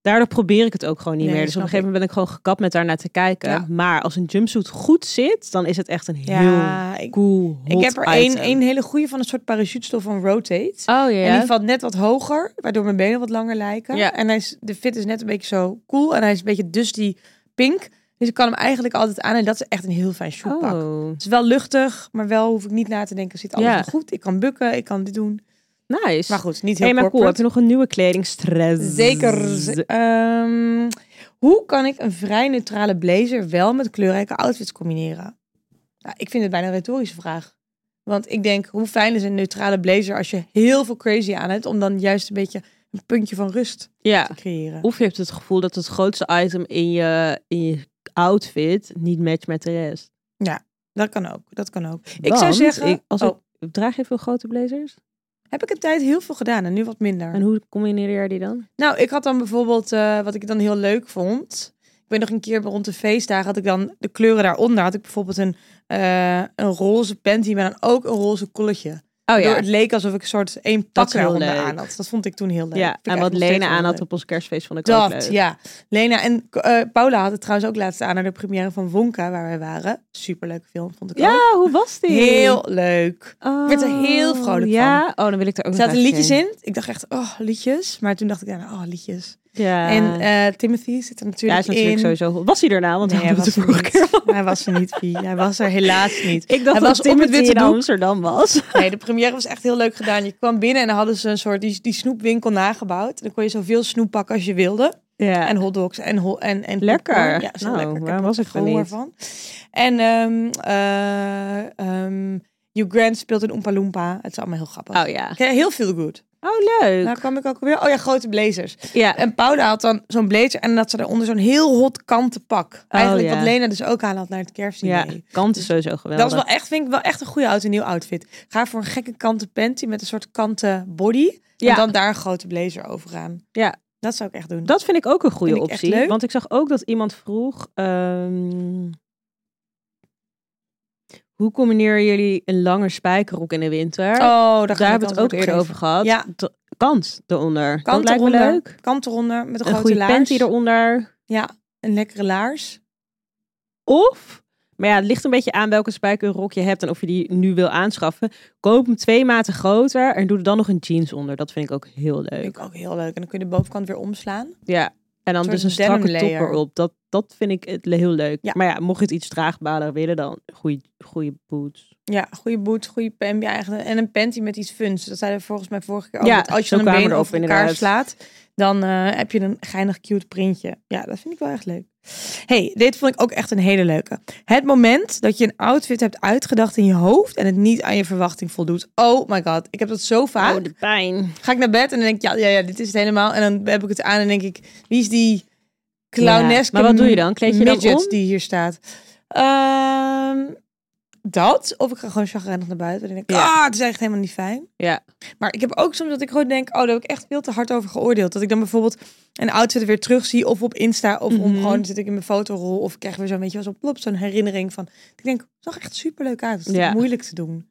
Speaker 2: Daardoor probeer ik het ook gewoon niet
Speaker 1: Nee,
Speaker 2: meer. Dus op een
Speaker 1: snap
Speaker 2: gegeven moment ben ik gewoon gekapt met daarnaar te kijken.
Speaker 1: Ja.
Speaker 2: Maar als een jumpsuit goed zit, dan is het echt een heel
Speaker 1: ja, ik,
Speaker 2: cool,
Speaker 1: ik heb er één
Speaker 2: één.
Speaker 1: één hele goede van een soort parachutestof van Rotate.
Speaker 2: Oh ja.
Speaker 1: En die valt net wat hoger, waardoor mijn benen wat langer lijken.
Speaker 2: Ja.
Speaker 1: En hij is, de fit is net een beetje zo cool en hij is een beetje dusty pink. Dus ik kan hem eigenlijk altijd aan en dat is echt een heel fijn shoepak.
Speaker 2: oh,
Speaker 1: Het is wel luchtig, maar wel hoef ik niet na te denken. Zit alles
Speaker 2: Ja.
Speaker 1: nog goed? Ik kan bukken, ik kan dit doen.
Speaker 2: nice.
Speaker 1: Maar goed, niet heel
Speaker 2: hey, maar cool. Heb
Speaker 1: corporate.
Speaker 2: je nog een nieuwe kledingstress?
Speaker 1: Zeker. Z- Ehm, hoe kan ik een vrij neutrale blazer wel met kleurrijke outfits combineren? Nou, ik vind het bijna een retorische vraag. Want ik denk, hoe fijn is een neutrale blazer als je heel veel crazy aan hebt... om dan juist een beetje een puntje van rust
Speaker 2: Ja.
Speaker 1: te creëren.
Speaker 2: Of je hebt het gevoel dat het grootste item in je, in je outfit niet matcht met de rest.
Speaker 1: Dat kan ook, dat kan ook. ik
Speaker 2: Want
Speaker 1: zou zeggen,
Speaker 2: ik- als
Speaker 1: oh,
Speaker 2: ik, draag je veel grote blazers?
Speaker 1: heb ik een tijd heel veel gedaan en nu wat minder.
Speaker 2: En hoe combineer jij die dan?
Speaker 1: Nou, ik had dan bijvoorbeeld, eh, wat ik dan heel leuk vond. Ik ben nog een keer rond de feestdagen, had ik dan de kleuren daaronder. Had ik bijvoorbeeld een, eh, een roze panty, maar dan ook een roze colletje.
Speaker 2: Oh
Speaker 1: Waardoor
Speaker 2: ja.
Speaker 1: Het leek alsof ik een soort één
Speaker 2: Dat is
Speaker 1: pak
Speaker 2: heel
Speaker 1: eronder
Speaker 2: leuk.
Speaker 1: aan had. Dat vond ik toen heel leuk.
Speaker 2: Ja,
Speaker 1: Vind ik
Speaker 2: en
Speaker 1: echt
Speaker 2: wat
Speaker 1: nog steeds
Speaker 2: Lena
Speaker 1: heel
Speaker 2: aan had
Speaker 1: leuk.
Speaker 2: op ons kerstfeest vond ik ook
Speaker 1: Dat,
Speaker 2: leuk.
Speaker 1: ja. Lena en eh, Paula had het trouwens ook laatst aan naar de première van Wonka, waar wij waren. Superleuke film, vond ik ook.
Speaker 2: Ja, hoe was die?
Speaker 1: Oh. Heel leuk.
Speaker 2: Oh,
Speaker 1: werd er heel vrolijk
Speaker 2: ja? oh, dan wil ik er ook
Speaker 1: Er
Speaker 2: nog
Speaker 1: zaten
Speaker 2: naar
Speaker 1: liedjes
Speaker 2: zien.
Speaker 1: in. Ik dacht echt, oh, liedjes. Maar toen dacht ik, daarna, oh, liedjes.
Speaker 2: Ja.
Speaker 1: En eh, Timothy zit er
Speaker 2: ja,
Speaker 1: natuurlijk
Speaker 2: is natuurlijk
Speaker 1: in.
Speaker 2: sowieso... goed. Was hij daarna? Want
Speaker 1: Nee,
Speaker 2: hij was de
Speaker 1: er
Speaker 2: vorige
Speaker 1: niet.
Speaker 2: keer al.
Speaker 1: Hij was er niet, Vie. Hij was er helaas niet.
Speaker 2: Ik dacht
Speaker 1: Hij
Speaker 2: dat
Speaker 1: was op het
Speaker 2: Timothy
Speaker 1: witte
Speaker 2: in
Speaker 1: doek.
Speaker 2: Amsterdam was.
Speaker 1: Nee, de première was echt heel leuk gedaan. Je kwam binnen en dan hadden ze een soort die, die snoepwinkel nagebouwd. Dan kon je zoveel snoep pakken als je wilde.
Speaker 2: Ja.
Speaker 1: En hotdogs en, ho en, en
Speaker 2: Lekker.
Speaker 1: popcorn. Ja, zo
Speaker 2: Nou,
Speaker 1: lekker. Ik
Speaker 2: waar
Speaker 1: heb
Speaker 2: was
Speaker 1: er
Speaker 2: ik dan
Speaker 1: gehoor
Speaker 2: niet?
Speaker 1: van. En ehm eh ehm Hugh Grant speelt in Oompa Loompa. Het is allemaal heel grappig.
Speaker 2: Oh ja.
Speaker 1: Ik kreeg Heel veel goed.
Speaker 2: Oh, leuk.
Speaker 1: Nou kwam ik ook weer. Oh ja, grote blazers.
Speaker 2: ja.
Speaker 1: En Paula had dan zo'n blazer en dat ze daaronder zo'n heel hot kanten pak. Eigenlijk
Speaker 2: Oh, ja.
Speaker 1: wat Lena dus ook aan had naar het
Speaker 2: ja,
Speaker 1: kerstdiner.
Speaker 2: kant is sowieso geweldig.
Speaker 1: Dat is wel echt, vind ik wel echt een goede oud en nieuw outfit. Ga voor een gekke kanten panty met een soort kanten body.
Speaker 2: Ja.
Speaker 1: En dan daar een grote blazer over aan.
Speaker 2: Ja.
Speaker 1: Dat zou ik echt doen.
Speaker 2: Dat vind ik ook een goede
Speaker 1: Vind ik echt
Speaker 2: optie.
Speaker 1: leuk.
Speaker 2: Want ik zag ook dat iemand vroeg... ehm, hoe combineer jullie een lange spijkerrok in de winter?
Speaker 1: oh,
Speaker 2: Daar hebben we het ook eerder over gehad.
Speaker 1: Ja.
Speaker 2: D- Kant eronder. dat
Speaker 1: Kant
Speaker 2: lijkt me
Speaker 1: eronder.
Speaker 2: leuk.
Speaker 1: Kant eronder met een,
Speaker 2: Een
Speaker 1: grote
Speaker 2: goede
Speaker 1: laars.
Speaker 2: panty eronder.
Speaker 1: Ja, een lekkere laars.
Speaker 2: Of, maar ja, het ligt een beetje aan welke spijkerrok je hebt en of je die nu wil aanschaffen. Koop hem twee maten groter en doe er dan nog een jeans onder. Dat vind ik ook heel
Speaker 1: Vind
Speaker 2: leuk.
Speaker 1: ik ook heel leuk. En dan kun je de bovenkant weer omslaan.
Speaker 2: Ja. En dan
Speaker 1: Een
Speaker 2: dus een
Speaker 1: soort
Speaker 2: strakke
Speaker 1: denim
Speaker 2: top
Speaker 1: layer.
Speaker 2: erop. Dat, dat vind ik het heel leuk.
Speaker 1: Ja.
Speaker 2: Maar ja, mocht je het iets draagbaarder willen, dan goede, goede boots.
Speaker 1: Ja, goede boots, goede pam. Ja, echt een- en een panty met iets funs. Dat zeiden we volgens mij vorige keer ook.
Speaker 2: Ja,
Speaker 1: dat als
Speaker 2: zo
Speaker 1: je dan een
Speaker 2: kwamen
Speaker 1: been
Speaker 2: we erop,
Speaker 1: over elkaar
Speaker 2: inderdaad.
Speaker 1: slaat, dan eh, heb je een geinig cute printje. Ja, dat vind ik wel echt leuk. hey, dit vond ik ook echt een hele leuke. Het moment dat je een outfit hebt uitgedacht in je hoofd en het niet aan je verwachting voldoet. Oh my god, ik heb dat zo vaak.
Speaker 2: Oh, de pijn.
Speaker 1: Ga ik naar bed en dan denk ik, ja, ja, ja, dit is het helemaal. En dan heb ik het aan en denk ik, wie is die clowneske
Speaker 2: Ja, maar wat doe je dan? Kleed je dan
Speaker 1: midget
Speaker 2: om?
Speaker 1: die hier staat. Ehm, dat, of ik ga gewoon chagrijnig naar buiten. En denk ik,
Speaker 2: Ja.
Speaker 1: ah, het is echt helemaal niet fijn.
Speaker 2: Ja.
Speaker 1: Maar ik heb ook soms dat ik gewoon denk, oh, daar heb ik echt veel te hard over geoordeeld. Dat ik dan bijvoorbeeld een outfit weer terug zie of op Insta of om
Speaker 2: Mhm.
Speaker 1: gewoon zit ik in mijn fotorol of ik krijg weer zo'n beetje als op plop zo'n herinnering van. Ik denk, het zag echt superleuk uit. Het is
Speaker 2: Ja.
Speaker 1: moeilijk te doen.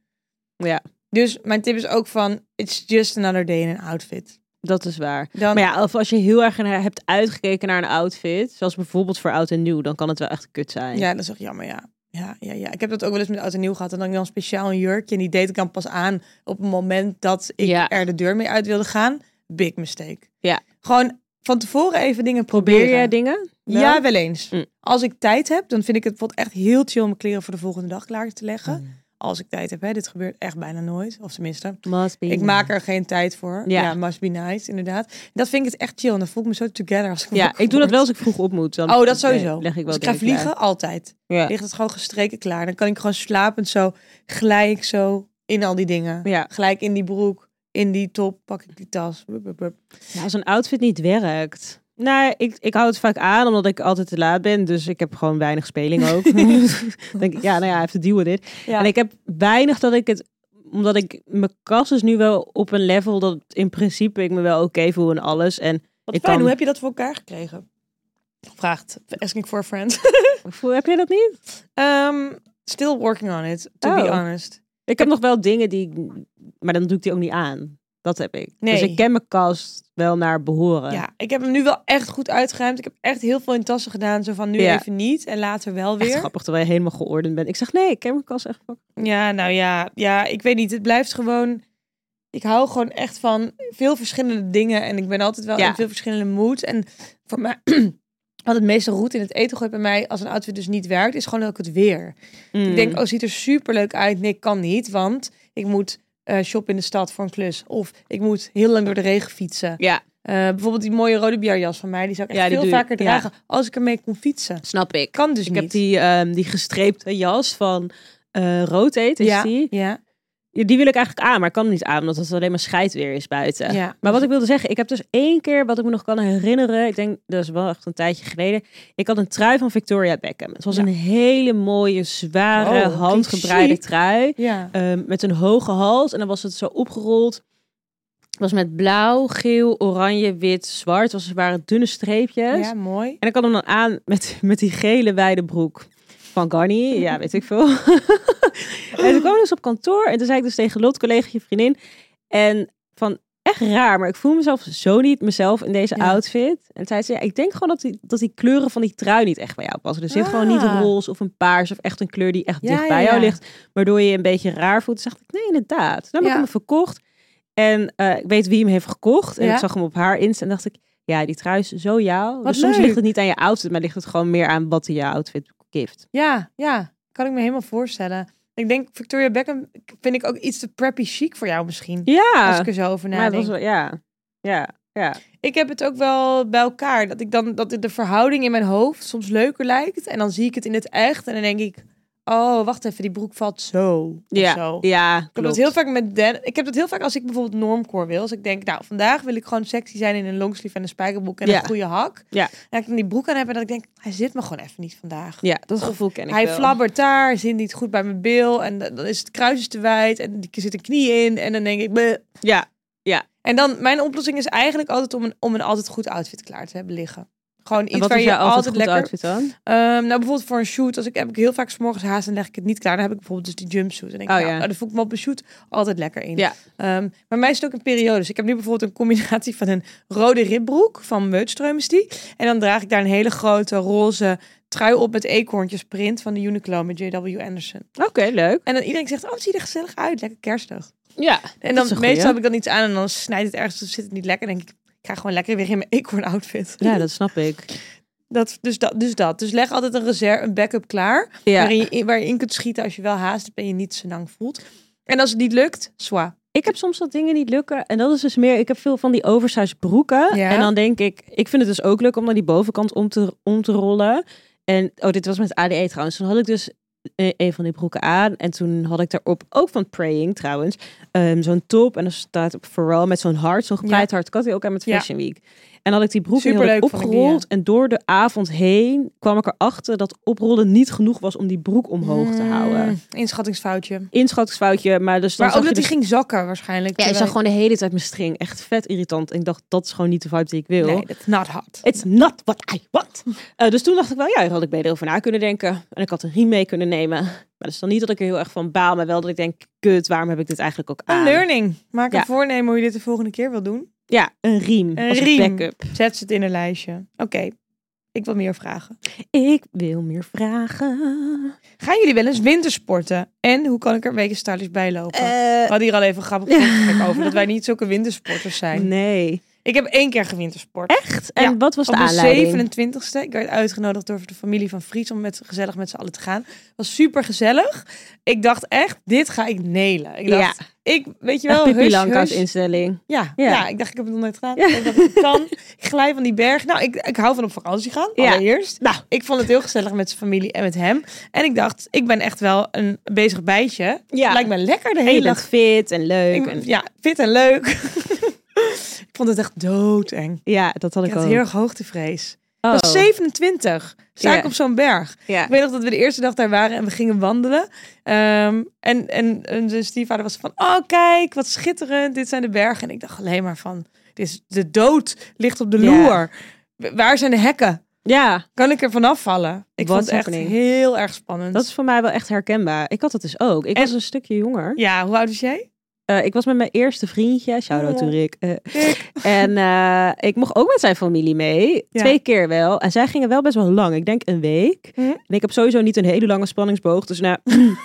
Speaker 2: Ja.
Speaker 1: Dus mijn tip is ook van, it's just another day in an outfit.
Speaker 2: Dat is waar.
Speaker 1: Dan,
Speaker 2: Maar ja, of als je heel erg naar- hebt uitgekeken naar een outfit, zoals bijvoorbeeld voor oud en nieuw, dan kan het wel echt kut zijn.
Speaker 1: Ja, dat is toch jammer, ja. Ja, ja, ja. Ik heb dat ook wel eens met oud en nieuw gehad. En dan had ik dan speciaal een jurkje. En die deed ik dan pas aan op het moment dat ik
Speaker 2: Ja.
Speaker 1: er de deur mee uit wilde gaan. Big mistake.
Speaker 2: Ja.
Speaker 1: Gewoon van tevoren even dingen proberen.
Speaker 2: Probeer jij dingen? wel?
Speaker 1: Ja, wel eens.
Speaker 2: Mm.
Speaker 1: Als ik tijd heb, dan vind ik het wat echt heel chill om mijn kleren voor de volgende dag klaar te leggen.
Speaker 2: Mm.
Speaker 1: Als ik tijd heb, hè. Dit gebeurt echt bijna nooit. Of tenminste,
Speaker 2: Must be.
Speaker 1: ik maak er geen tijd voor.
Speaker 2: Ja.
Speaker 1: Ja, must be nice, inderdaad. Dat vind ik het echt chill. En dan voel ik me zo together als ik
Speaker 2: Ja,
Speaker 1: wakker
Speaker 2: ik doe dat
Speaker 1: word.
Speaker 2: wel als ik vroeg op moet. Dan
Speaker 1: Oh, dat sowieso.
Speaker 2: Leg ik wel
Speaker 1: Als ik ga
Speaker 2: dingen klaar.
Speaker 1: vliegen, altijd
Speaker 2: Ja.
Speaker 1: ligt het gewoon gestreken klaar. Dan kan ik gewoon slapend zo, glij ik zo in al die dingen.
Speaker 2: Ja.
Speaker 1: Gelijk in die broek, in die top, pak ik die tas. Wup, wup, wup.
Speaker 2: Ja, als een outfit niet werkt. Nou, ik, ik hou het vaak aan omdat ik altijd te laat ben. Dus ik heb gewoon weinig speling ook. Dan denk ik, ja, nou ja, even duwen dit.
Speaker 1: Ja.
Speaker 2: En ik heb weinig dat ik het omdat ik mijn kast is nu wel op een level dat in principe ik me wel oké voel en alles. En
Speaker 1: Wat
Speaker 2: ik
Speaker 1: fijn,
Speaker 2: kan-
Speaker 1: hoe heb je dat voor elkaar gekregen? Vraagt Asking for a Friend.
Speaker 2: voel- heb jij dat niet?
Speaker 1: Ehm, still working on it, to be
Speaker 2: Oh.
Speaker 1: honest.
Speaker 2: Ik heb nog wel dingen die ik, maar dan doe ik die ook niet aan. Dat heb ik. Dus
Speaker 1: Nee.
Speaker 2: ik ken mijn kast wel naar behoren.
Speaker 1: Ja, ik heb hem nu wel echt goed uitgeruimd. Ik heb echt heel veel in tassen gedaan. Zo van nu
Speaker 2: Ja.
Speaker 1: even niet en later wel
Speaker 2: Echt
Speaker 1: weer.
Speaker 2: grappig, terwijl je helemaal geordend bent. Ik zeg nee, ik ken mijn kast echt fucking-
Speaker 1: Ja, nou ja, ja, ik weet niet. Het blijft gewoon. Ik hou gewoon echt van veel verschillende dingen. En ik ben altijd wel
Speaker 2: Ja.
Speaker 1: in veel verschillende moods. En voor mij, wat het meeste roet in het eten gooit bij mij als een outfit dus niet werkt, is gewoon ook het weer.
Speaker 2: Mm.
Speaker 1: Ik
Speaker 2: Hmm.
Speaker 1: denk, oh, ziet er super leuk uit. Nee, kan niet, want ik moet eh shoppen in de stad voor een klus. Of ik moet heel lang door de regen fietsen.
Speaker 2: Ja,
Speaker 1: Eh, bijvoorbeeld die mooie rode bierjas van mij, die zou ik echt
Speaker 2: Ja, die
Speaker 1: veel
Speaker 2: doe je-
Speaker 1: vaker
Speaker 2: ja.
Speaker 1: dragen als ik ermee kon fietsen.
Speaker 2: snap ik.
Speaker 1: Kan dus
Speaker 2: Ik
Speaker 1: niet.
Speaker 2: heb die, ehm, die gestreepte jas van eh rood eet, is
Speaker 1: ja,
Speaker 2: die?
Speaker 1: ja,
Speaker 2: Ja, Die wil ik eigenlijk aan, maar ik kan hem niet aan, omdat het alleen maar scheidweer is buiten.
Speaker 1: ja.
Speaker 2: Maar wat ik wilde zeggen, ik heb dus één keer wat ik me nog kan herinneren. Ik denk, dat is wel echt een tijdje geleden. Ik had een trui van Victoria Beckham. Het was
Speaker 1: Ja.
Speaker 2: een hele mooie,
Speaker 1: Wow,
Speaker 2: zware,
Speaker 1: klinkt
Speaker 2: handgebreide
Speaker 1: chic.
Speaker 2: trui.
Speaker 1: Ja.
Speaker 2: Ehm, met een hoge hals. En dan was het zo opgerold. Het was met blauw, geel, oranje, wit, zwart. Het was- waren dunne streepjes.
Speaker 1: ja, mooi.
Speaker 2: En ik had hem dan aan met, met die gele wijde broek. van Garni, ja, weet ik veel. en toen kwam ik dus op kantoor en toen zei ik dus tegen Lot, collega, je vriendin. En van, echt raar, maar ik voel mezelf zo niet mezelf in deze
Speaker 1: Ja.
Speaker 2: outfit. En zei ze, ja, ik denk gewoon dat die, dat die kleuren van die trui niet echt bij jou passen. Er zit gewoon niet
Speaker 1: Ah.
Speaker 2: roze of een paars of echt een kleur die echt
Speaker 1: Ja,
Speaker 2: dicht
Speaker 1: ja,
Speaker 2: bij jou
Speaker 1: ja.
Speaker 2: ligt. Waardoor je je een beetje raar voelt. Toen dacht ik, nee, inderdaad. Dan heb
Speaker 1: Ja.
Speaker 2: ik hem verkocht. En eh, ik weet wie hem heeft gekocht. En
Speaker 1: Ja.
Speaker 2: ik zag hem op haar Insta en dacht ik, ja, die trui is zo jou.
Speaker 1: Wat
Speaker 2: dus soms
Speaker 1: leuk.
Speaker 2: ligt het niet aan je outfit, maar ligt het gewoon meer aan wat in je outfit geeft.
Speaker 1: Ja, ja. Kan ik me helemaal voorstellen. Ik denk, Victoria Beckham vind ik ook iets te preppy chic voor jou misschien. Als
Speaker 2: Ja,
Speaker 1: ik er zo over
Speaker 2: maar het
Speaker 1: nadenk.
Speaker 2: was wel, ja. Ja, ja.
Speaker 1: Ik heb het ook wel bij elkaar. Dat ik dan dat de verhouding in mijn hoofd soms leuker lijkt. En dan zie ik het in het echt. En dan denk ik, oh, wacht even, die broek valt zo. of
Speaker 2: Ja,
Speaker 1: zo.
Speaker 2: ja
Speaker 1: Ik heb
Speaker 2: klopt.
Speaker 1: dat heel vaak met Dan. Ik heb dat heel vaak als ik bijvoorbeeld normcore wil. Als ik denk, nou, vandaag wil ik gewoon sexy zijn in een longsleeve en een spijkerbroek en
Speaker 2: Ja.
Speaker 1: een goede hak.
Speaker 2: Ja.
Speaker 1: En dat ik dan die broek aan heb en dat ik denk, hij zit me gewoon even niet vandaag.
Speaker 2: Ja, dat gevoel ken ik
Speaker 1: Hij
Speaker 2: wel.
Speaker 1: flabbert daar, zit niet goed bij mijn bil en dan dan is het kruis is te wijd en er zit een knie in en dan denk ik, bleh.
Speaker 2: Ja,
Speaker 1: En dan, mijn oplossing is eigenlijk altijd om een, om een altijd goed outfit klaar te hebben liggen. Gewoon
Speaker 2: en
Speaker 1: iets
Speaker 2: wat
Speaker 1: waar
Speaker 2: is
Speaker 1: je
Speaker 2: jouw
Speaker 1: altijd,
Speaker 2: altijd goed
Speaker 1: lekker...
Speaker 2: outfit dan?
Speaker 1: Ehm, nou, bijvoorbeeld voor een shoot, als ik, heb ik heel vaak 's morgens haast en leg ik het niet klaar. Dan heb ik bijvoorbeeld dus die jumpsuit. En denk ik,
Speaker 2: Oh,
Speaker 1: nou,
Speaker 2: ja.
Speaker 1: nou, dan voel ik me op een shoot altijd lekker in.
Speaker 2: Ja.
Speaker 1: Ehm, maar mij is het ook een periode. Dus ik heb nu bijvoorbeeld een combinatie van een rode ribbroek van Meutström is die. En dan draag ik daar een hele grote roze trui op met eekhoorntjes print van de Uniqlo met J.W. Anderson.
Speaker 2: Oké, leuk.
Speaker 1: En dan iedereen zegt, oh, het ziet er gezellig uit. Lekker kerstdag.
Speaker 2: Ja,
Speaker 1: En
Speaker 2: dat is
Speaker 1: dan
Speaker 2: een goeie.
Speaker 1: meestal heb ik dan iets aan en dan snijdt het ergens of zit het niet lekker. En denk ik, ik ga gewoon lekker weer in mijn eekhoorn outfit.
Speaker 2: Ja, dat snap ik.
Speaker 1: Dat, dus, dat, dus dat. Dus leg altijd een reserve, een backup klaar.
Speaker 2: Ja.
Speaker 1: Waarin, je, waarin je in kunt schieten als je wel haast hebt en je niet zo lang voelt. En als het niet lukt, zwa.
Speaker 2: Ik heb soms dat dingen niet lukken. En dat is dus meer, ik heb veel van die oversized broeken.
Speaker 1: Ja.
Speaker 2: En dan denk ik, ik vind het dus ook leuk om naar die bovenkant om te, om te rollen. En, oh, dit was met ADE trouwens. Toen had ik dus eh, een van die broeken aan. En toen had ik daarop, ook van Praying trouwens, ehm, zo'n top. En dan staat op Pharrell met zo'n hart, zo'n gepraaid hart. Ik had die ook aan met
Speaker 1: Ja.
Speaker 2: Fashion Week. En had ik die broek heel
Speaker 1: Superleuk
Speaker 2: erg
Speaker 1: vond ik die, ja.
Speaker 2: opgerold. En door de avond heen kwam ik erachter dat oprollen niet genoeg was om die broek omhoog te houden.
Speaker 1: Mm, inschattingsfoutje.
Speaker 2: Inschattingsfoutje, maar dus dan
Speaker 1: maar
Speaker 2: zag
Speaker 1: ook
Speaker 2: je
Speaker 1: dat
Speaker 2: dus
Speaker 1: die ging zakken waarschijnlijk.
Speaker 2: ja, ik zag
Speaker 1: terwijl
Speaker 2: gewoon de hele tijd mijn string. Echt vet irritant. En ik dacht, dat is gewoon niet de vibe die ik wil.
Speaker 1: Nee, dat is not hot.
Speaker 2: It's not what I want. Eh, dus toen dacht ik wel, ja, daar had ik beter over na kunnen denken. En ik had een riem mee kunnen nemen. Maar dat is dan niet dat ik er heel erg van baal. Maar wel dat ik denk, kut, waarom heb ik dit eigenlijk ook aan?
Speaker 1: Een learning. Maak
Speaker 2: Ja.
Speaker 1: een voornemen hoe je dit de volgende keer wil doen.
Speaker 2: Ja, een riem.
Speaker 1: Een
Speaker 2: als
Speaker 1: riem.
Speaker 2: backup.
Speaker 1: Zet ze het in een lijstje. Oké, ik wil meer vragen.
Speaker 2: Ik wil meer vragen.
Speaker 1: Gaan jullie wel eens wintersporten? En hoe kan ik er een beetje stylish bij lopen?
Speaker 2: Eh,
Speaker 1: we hadden hier al even een grappig
Speaker 2: Ja.
Speaker 1: gesprek over. Dat wij niet zulke wintersporters zijn.
Speaker 2: nee.
Speaker 1: Ik heb één keer gewintersport.
Speaker 2: Echt? En
Speaker 1: Ja,
Speaker 2: wat was de
Speaker 1: Op
Speaker 2: aanleiding?
Speaker 1: mijn 27ste. Ik werd uitgenodigd door de familie van Fries om met, gezellig met z'n allen te gaan. was super gezellig. Ik dacht echt, dit ga ik nelen. Ik dacht, ik weet je
Speaker 2: Ja, echt
Speaker 1: wel,
Speaker 2: Pippi
Speaker 1: heus,
Speaker 2: Langkous
Speaker 1: heus.
Speaker 2: instelling.
Speaker 1: Ja, ja.
Speaker 2: Ja.
Speaker 1: ik dacht, ik heb het nog nooit gedaan.
Speaker 2: Ja.
Speaker 1: Ik dacht, ik kan. Ik glij van die berg. Nou, ik, ik hou van op vakantie gaan,
Speaker 2: Ja.
Speaker 1: allereerst.
Speaker 2: Nou.
Speaker 1: Ik vond het heel gezellig met zijn familie en met hem. En ik dacht, ik ben echt wel een bezig bijtje.
Speaker 2: Ja.
Speaker 1: Lijkt me lekker de
Speaker 2: En je
Speaker 1: hele
Speaker 2: bent
Speaker 1: dag.
Speaker 2: fit en leuk.
Speaker 1: Ik-
Speaker 2: en...
Speaker 1: ja, fit en leuk. ik vond het echt doodeng.
Speaker 2: Ja, dat had ik,
Speaker 1: Ik had
Speaker 2: ook.
Speaker 1: heel erg hoogtevrees.
Speaker 2: Oh.
Speaker 1: Ik was 27. Sta
Speaker 2: Ja.
Speaker 1: ik op zo'n berg.
Speaker 2: Ja.
Speaker 1: Ik weet nog dat we de eerste dag daar waren en we gingen wandelen. Ehm, en, en, en de stiefvader was van, oh kijk, wat schitterend. Dit zijn de bergen. En ik dacht alleen maar van, dit is, de dood ligt op de
Speaker 2: Ja.
Speaker 1: loer. W- Waar zijn de hekken?
Speaker 2: ja.
Speaker 1: Kan ik er vanaf vallen? Ik
Speaker 2: What's
Speaker 1: vond het echt
Speaker 2: happening?
Speaker 1: heel erg spannend.
Speaker 2: Dat is voor mij wel echt herkenbaar. Ik had het dus ook. Ik
Speaker 1: En-
Speaker 2: was een stukje jonger.
Speaker 1: Ja, hoe oud is jij?
Speaker 2: Eh, ik was met mijn eerste vriendje, shout-out to
Speaker 1: Oh.
Speaker 2: Rick. Eh, en eh, ik mocht ook met zijn familie mee.
Speaker 1: Ja.
Speaker 2: Twee keer wel. En zij gingen wel best wel lang. Ik denk een week.
Speaker 1: Mhm.
Speaker 2: En ik heb sowieso niet een hele lange spanningsboog. Dus na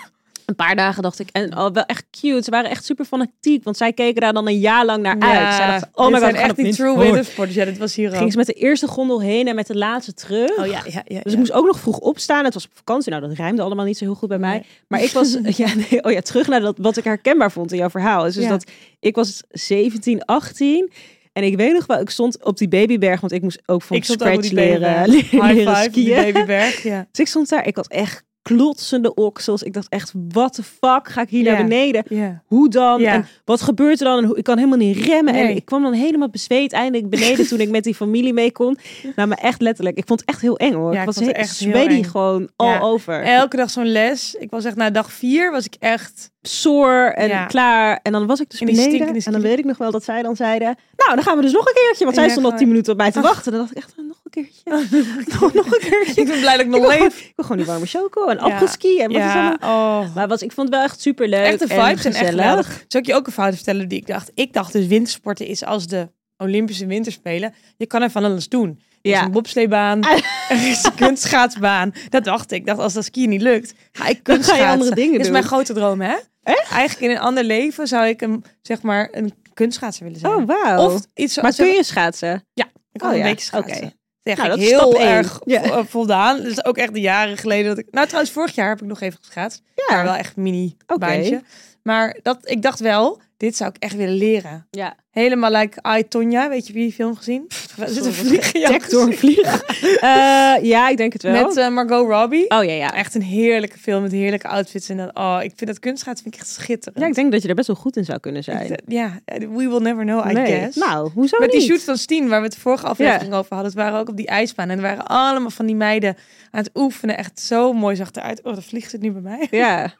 Speaker 2: een paar dagen dacht ik... En al wel echt cute. Ze waren echt super fanatiek. Want zij keken daar dan een jaar lang naar uit. Zij dachten, oh
Speaker 1: dit zijn
Speaker 2: my god, we gaan
Speaker 1: echt
Speaker 2: op
Speaker 1: die
Speaker 2: winter-
Speaker 1: true
Speaker 2: Oh.
Speaker 1: wintersporters. Ja, dat was hier ook.
Speaker 2: Gingen ze met de eerste gondel heen en met de laatste terug.
Speaker 1: Oh ja, ja, ja.
Speaker 2: Dus ik moest ook nog vroeg opstaan. Het was op vakantie. Nou, dat rijmde allemaal niet zo heel goed bij mij. Maar ik was, ja, nee, oh ja, terug naar dat, wat ik herkenbaar vond in jouw verhaal. Is dus
Speaker 1: Ja.
Speaker 2: dat ik was 17, 18. En ik weet nog wel, ik stond op die babyberg, want ik moest ook van
Speaker 1: ik stond ook op
Speaker 2: scratch
Speaker 1: die
Speaker 2: leren,
Speaker 1: babyberg. High
Speaker 2: leren
Speaker 1: five op die
Speaker 2: skiën.
Speaker 1: babyberg, ja.
Speaker 2: Dus ik stond daar, ik had echt klotsende oksels. Ik dacht echt, what the fuck, ga ik hier
Speaker 1: Ja.
Speaker 2: naar beneden?
Speaker 1: Ja.
Speaker 2: Hoe dan?
Speaker 1: Ja.
Speaker 2: En wat gebeurt er dan? En hoe- ik kan helemaal niet remmen. En
Speaker 1: Nee.
Speaker 2: ik kwam dan helemaal bezweet eindelijk beneden toen ik met die familie mee kon. Nou, maar echt letterlijk. Ik vond het echt heel eng hoor.
Speaker 1: Ja,
Speaker 2: ik
Speaker 1: ik
Speaker 2: was
Speaker 1: vond het
Speaker 2: he-
Speaker 1: echt heel
Speaker 2: sweaty
Speaker 1: eng.
Speaker 2: gewoon
Speaker 1: Ja.
Speaker 2: all over.
Speaker 1: Elke dag zo'n les. Ik was echt na dag vier was ik echt.
Speaker 2: Soor en
Speaker 1: Ja.
Speaker 2: klaar. En dan was ik dus
Speaker 1: In die
Speaker 2: beneden.
Speaker 1: stinkende
Speaker 2: En dan
Speaker 1: ski.
Speaker 2: weet ik nog wel dat zij dan zeiden... Nou, dan gaan we dus nog een keertje. Want
Speaker 1: En
Speaker 2: zij
Speaker 1: jij
Speaker 2: stond al
Speaker 1: gewoon-
Speaker 2: tien minuten op mij te
Speaker 1: Ach.
Speaker 2: wachten. Dan dacht ik echt, "Nou, nog een keertje. nog, nog een keertje.
Speaker 1: Ik ben blij dat ik
Speaker 2: Ik
Speaker 1: nog
Speaker 2: wil, gewoon,
Speaker 1: leef.
Speaker 2: ik wil gewoon die warme choco en
Speaker 1: Ja.
Speaker 2: afgeski en wat is
Speaker 1: Ja,
Speaker 2: allemaal.
Speaker 1: oh.
Speaker 2: Maar was, ik vond het wel echt super leuk.
Speaker 1: Echt de vibes zijn echt
Speaker 2: gezellig.
Speaker 1: geweldig. Zal ik je ook een fout vertellen die ik dacht? Ik dacht dus wintersporten is als de Olympische winterspelen. Je kan er van alles doen. Er is
Speaker 2: Ja.
Speaker 1: een bobsleebaan, er is een kunstschaatsbaan. Dat dacht ik. Ik dacht, als dat skiën niet lukt, ga ik
Speaker 2: Dan ga je
Speaker 1: kunstschaatsen.
Speaker 2: andere dingen
Speaker 1: Dit is
Speaker 2: doen.
Speaker 1: mijn grote droom, hè? Echt? Eigenlijk in een ander leven zou ik een, zeg maar, een kunstschaatser willen zijn.
Speaker 2: Oh, wauw.
Speaker 1: Of iets zo-
Speaker 2: maar
Speaker 1: zo-
Speaker 2: kun je schaatsen?
Speaker 1: Ik kan
Speaker 2: oh
Speaker 1: een
Speaker 2: ja,
Speaker 1: beetje schaatsen.
Speaker 2: oké.
Speaker 1: Zeg
Speaker 2: Nou,
Speaker 1: ik
Speaker 2: dat is
Speaker 1: heel
Speaker 2: stap één.
Speaker 1: erg
Speaker 2: Ja.
Speaker 1: vo- eh, voldaan. Dat is ook echt de jaren geleden dat ik... Nou, trouwens, vorig jaar heb ik nog even geschaatst.
Speaker 2: Ja.
Speaker 1: Maar wel echt mini
Speaker 2: Oké.
Speaker 1: baantje. Maar dat, ik dacht wel, dit zou ik echt willen leren.
Speaker 2: Ja.
Speaker 1: Helemaal like I, Tonya. Weet je wie die film gezien? Er zit een vlieg in jouw
Speaker 2: Dekt door een vlieg. Eh, ja, ik denk het wel.
Speaker 1: Met eh, Margot Robbie.
Speaker 2: oh ja, ja.
Speaker 1: Echt een heerlijke film met heerlijke outfits. En dat, oh, ik vind dat kunstschaats vind ik echt schitterend.
Speaker 2: Ja, ik denk dat je er best wel goed in zou kunnen zijn.
Speaker 1: Ik- ja, we will never know, I
Speaker 2: Nee.
Speaker 1: guess.
Speaker 2: Nou, hoezo
Speaker 1: Met die
Speaker 2: niet?
Speaker 1: shoot van Steen, waar we het de vorige aflevering over hadden. Het waren ook op die ijsbaan. En er waren allemaal van die meiden aan het oefenen. Echt zo mooi zag het eruit. Oh, dat vliegt het nu bij mij.
Speaker 2: Ja.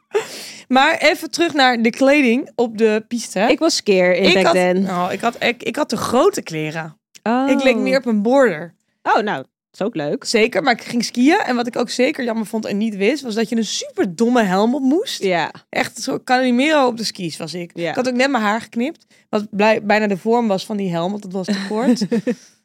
Speaker 1: Maar even terug naar de kleding op de piste.
Speaker 2: Ik was skeer in back
Speaker 1: had,
Speaker 2: then.
Speaker 1: nou, ik, had, ik, ik had de grote kleren.
Speaker 2: Oh.
Speaker 1: Ik leek meer op een border.
Speaker 2: Oh, nou, dat is ook leuk.
Speaker 1: Zeker, maar ik ging skiën. En wat ik ook zeker jammer vond en niet wist, was dat je een super domme helm op moest.
Speaker 2: Ja.
Speaker 1: Echt een soort Calimero op de skis was ik.
Speaker 2: Ja.
Speaker 1: Ik had ook net mijn haar geknipt. Wat blij- bijna de vorm was van die helm, want dat was te kort.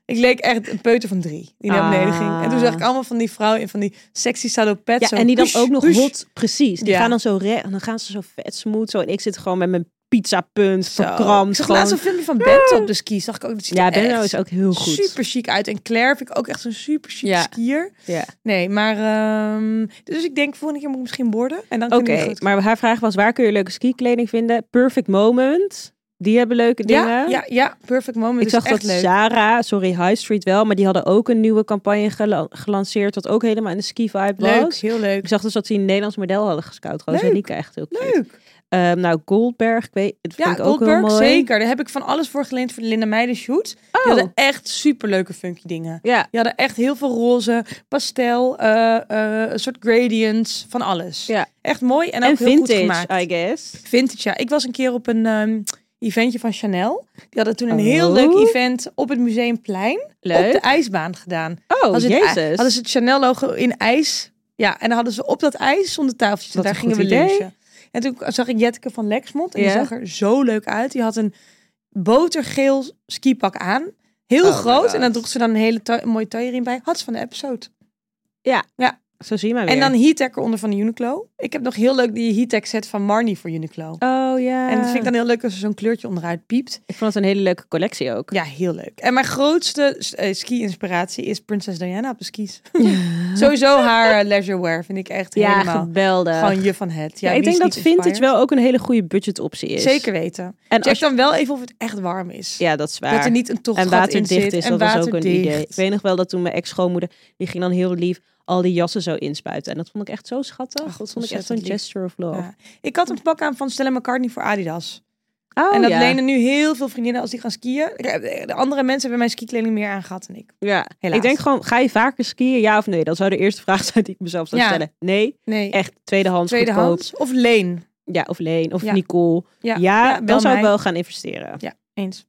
Speaker 1: ik leek echt een peuter van drie die naar beneden
Speaker 2: Ah.
Speaker 1: ging. En toen zag ik allemaal van die vrouwen in van die sexy salopet.
Speaker 2: Ja,
Speaker 1: zo
Speaker 2: en die dan
Speaker 1: push,
Speaker 2: ook nog
Speaker 1: push.
Speaker 2: hot, precies. Die
Speaker 1: Ja.
Speaker 2: gaan dan zo recht, en dan gaan ze zo vet smooth zo. En ik zit gewoon met mijn pizzapunt,
Speaker 1: Zo. Ik
Speaker 2: verkramd.
Speaker 1: zag
Speaker 2: gewoon. Ah.
Speaker 1: laatst een filmpje van Bento op de skis. Zag ik ook. Dat ziet
Speaker 2: Ja,
Speaker 1: er
Speaker 2: Benno
Speaker 1: echt
Speaker 2: is ook heel goed.
Speaker 1: Super chic uit. En Claire vind ik ook echt een super chic
Speaker 2: Ja.
Speaker 1: skier.
Speaker 2: Ja.
Speaker 1: Nee, maar... ehm, dus ik denk, volgende keer moet ik misschien borden. En dan
Speaker 2: Oké,
Speaker 1: kunnen we goed...
Speaker 2: maar haar vraag was, waar kun je leuke skikleding vinden? Perfect Moment, die hebben leuke dingen.
Speaker 1: ja, ja, ja, perfect moment.
Speaker 2: Ik
Speaker 1: is
Speaker 2: zag
Speaker 1: echt
Speaker 2: dat
Speaker 1: leuk.
Speaker 2: Zara, sorry, High Street wel, maar die hadden ook een nieuwe campagne gela- gelanceerd, wat ook helemaal in de ski-vibe
Speaker 1: Leuk,
Speaker 2: was.
Speaker 1: heel leuk.
Speaker 2: Ik zag dus dat ze een Nederlands model hadden gescout. Gewoon
Speaker 1: Leuk.
Speaker 2: Zenika echt heel cute.
Speaker 1: Leuk.
Speaker 2: Ehm, nou, Goldberg, ik weet, dat
Speaker 1: Ja,
Speaker 2: vind ik ook
Speaker 1: Goldberg,
Speaker 2: heel mooi.
Speaker 1: zeker. Daar heb ik van alles voor geleend voor de Linda Meijden shoot. Die
Speaker 2: Oh,
Speaker 1: hadden echt superleuke funky dingen.
Speaker 2: ja.
Speaker 1: Die hadden echt heel veel roze, pastel, eh, eh, een soort gradients, van alles.
Speaker 2: Ja.
Speaker 1: Echt mooi en ook
Speaker 2: En
Speaker 1: heel goed
Speaker 2: vintage,
Speaker 1: gemaakt.
Speaker 2: I guess.
Speaker 1: Vintage, ja. Ik was een keer op een ehm, eventje van Chanel. Die hadden toen een heel
Speaker 2: Oh.
Speaker 1: leuk event op het Museumplein op de
Speaker 2: Leuk.
Speaker 1: ijsbaan gedaan.
Speaker 2: Oh,
Speaker 1: hadden, ze het,
Speaker 2: jezus.
Speaker 1: hadden ze het Chanel logo in ijs. Ja, en dan hadden ze op dat ijs zonder tafeltjes. En
Speaker 2: Wat
Speaker 1: daar
Speaker 2: een
Speaker 1: gingen we
Speaker 2: goed idee.
Speaker 1: lunchen. En toen zag ik Jetteke van Lexmond. En
Speaker 2: Ja.
Speaker 1: die zag er zo leuk uit. Die had een botergeel skipak aan. Heel
Speaker 2: Oh my
Speaker 1: groot. En dan
Speaker 2: God.
Speaker 1: droeg ze dan een hele ta- mooie taillering bij. Had ze van de episode.
Speaker 2: Zo zie je maar weer.
Speaker 1: En dan heattech onder van de Uniqlo. Ik heb nog heel leuk die heattech set van Marnie voor Uniqlo.
Speaker 2: Oh ja.
Speaker 1: En dat vind ik dan heel leuk als er zo'n kleurtje onderuit piept.
Speaker 2: Ik vond het een hele leuke collectie ook.
Speaker 1: Ja, heel leuk. En mijn grootste eh, ski-inspiratie is Prinses Diana op de skis. Sowieso haar eh, leisurewear vind ik echt
Speaker 2: Ja,
Speaker 1: helemaal
Speaker 2: geweldig.
Speaker 1: gewoon je van het.
Speaker 2: ja,
Speaker 1: Ja,
Speaker 2: ik
Speaker 1: wie
Speaker 2: denk
Speaker 1: is
Speaker 2: dat
Speaker 1: niet
Speaker 2: vintage
Speaker 1: inspired?
Speaker 2: wel ook een hele goede budgetoptie is.
Speaker 1: Zeker weten.
Speaker 2: En
Speaker 1: Check
Speaker 2: als je-
Speaker 1: dan wel even of het echt warm is.
Speaker 2: ja, dat is waar.
Speaker 1: Dat er niet een tochtgat
Speaker 2: en
Speaker 1: in
Speaker 2: waterdicht
Speaker 1: zit.
Speaker 2: is,
Speaker 1: en
Speaker 2: dat was ook een idee. Ik
Speaker 1: waterdicht.
Speaker 2: weet nog wel dat toen mijn ex-schoonmoeder, die ging dan heel lief al die jassen zo inspuiten. En dat vond ik echt zo schattig.
Speaker 1: Ach,
Speaker 2: dat vond ik echt zo'n
Speaker 1: ontzettend lief.
Speaker 2: gesture of love.
Speaker 1: Ja. Ik had een pak aan van Stella McCartney voor Adidas.
Speaker 2: Oh,
Speaker 1: en dat
Speaker 2: ja.
Speaker 1: lenen nu heel veel vriendinnen als die gaan skiën. Eh, De andere mensen hebben mijn skikleding meer aangehad dan ik.
Speaker 2: Ja.
Speaker 1: Helaas.
Speaker 2: Ik denk gewoon, ga je vaker skiën, ja of nee? Dat zou de eerste vraag zijn die ik mezelf zou
Speaker 1: Ja.
Speaker 2: stellen. Nee,
Speaker 1: Nee,
Speaker 2: echt tweedehands, goedkoop.
Speaker 1: tweedehands of leen.
Speaker 2: Ja, of Leen, of
Speaker 1: Ja.
Speaker 2: Nicole.
Speaker 1: Ja,
Speaker 2: Ja,
Speaker 1: bel
Speaker 2: dan zou
Speaker 1: mij.
Speaker 2: ik wel gaan investeren.
Speaker 1: Eens.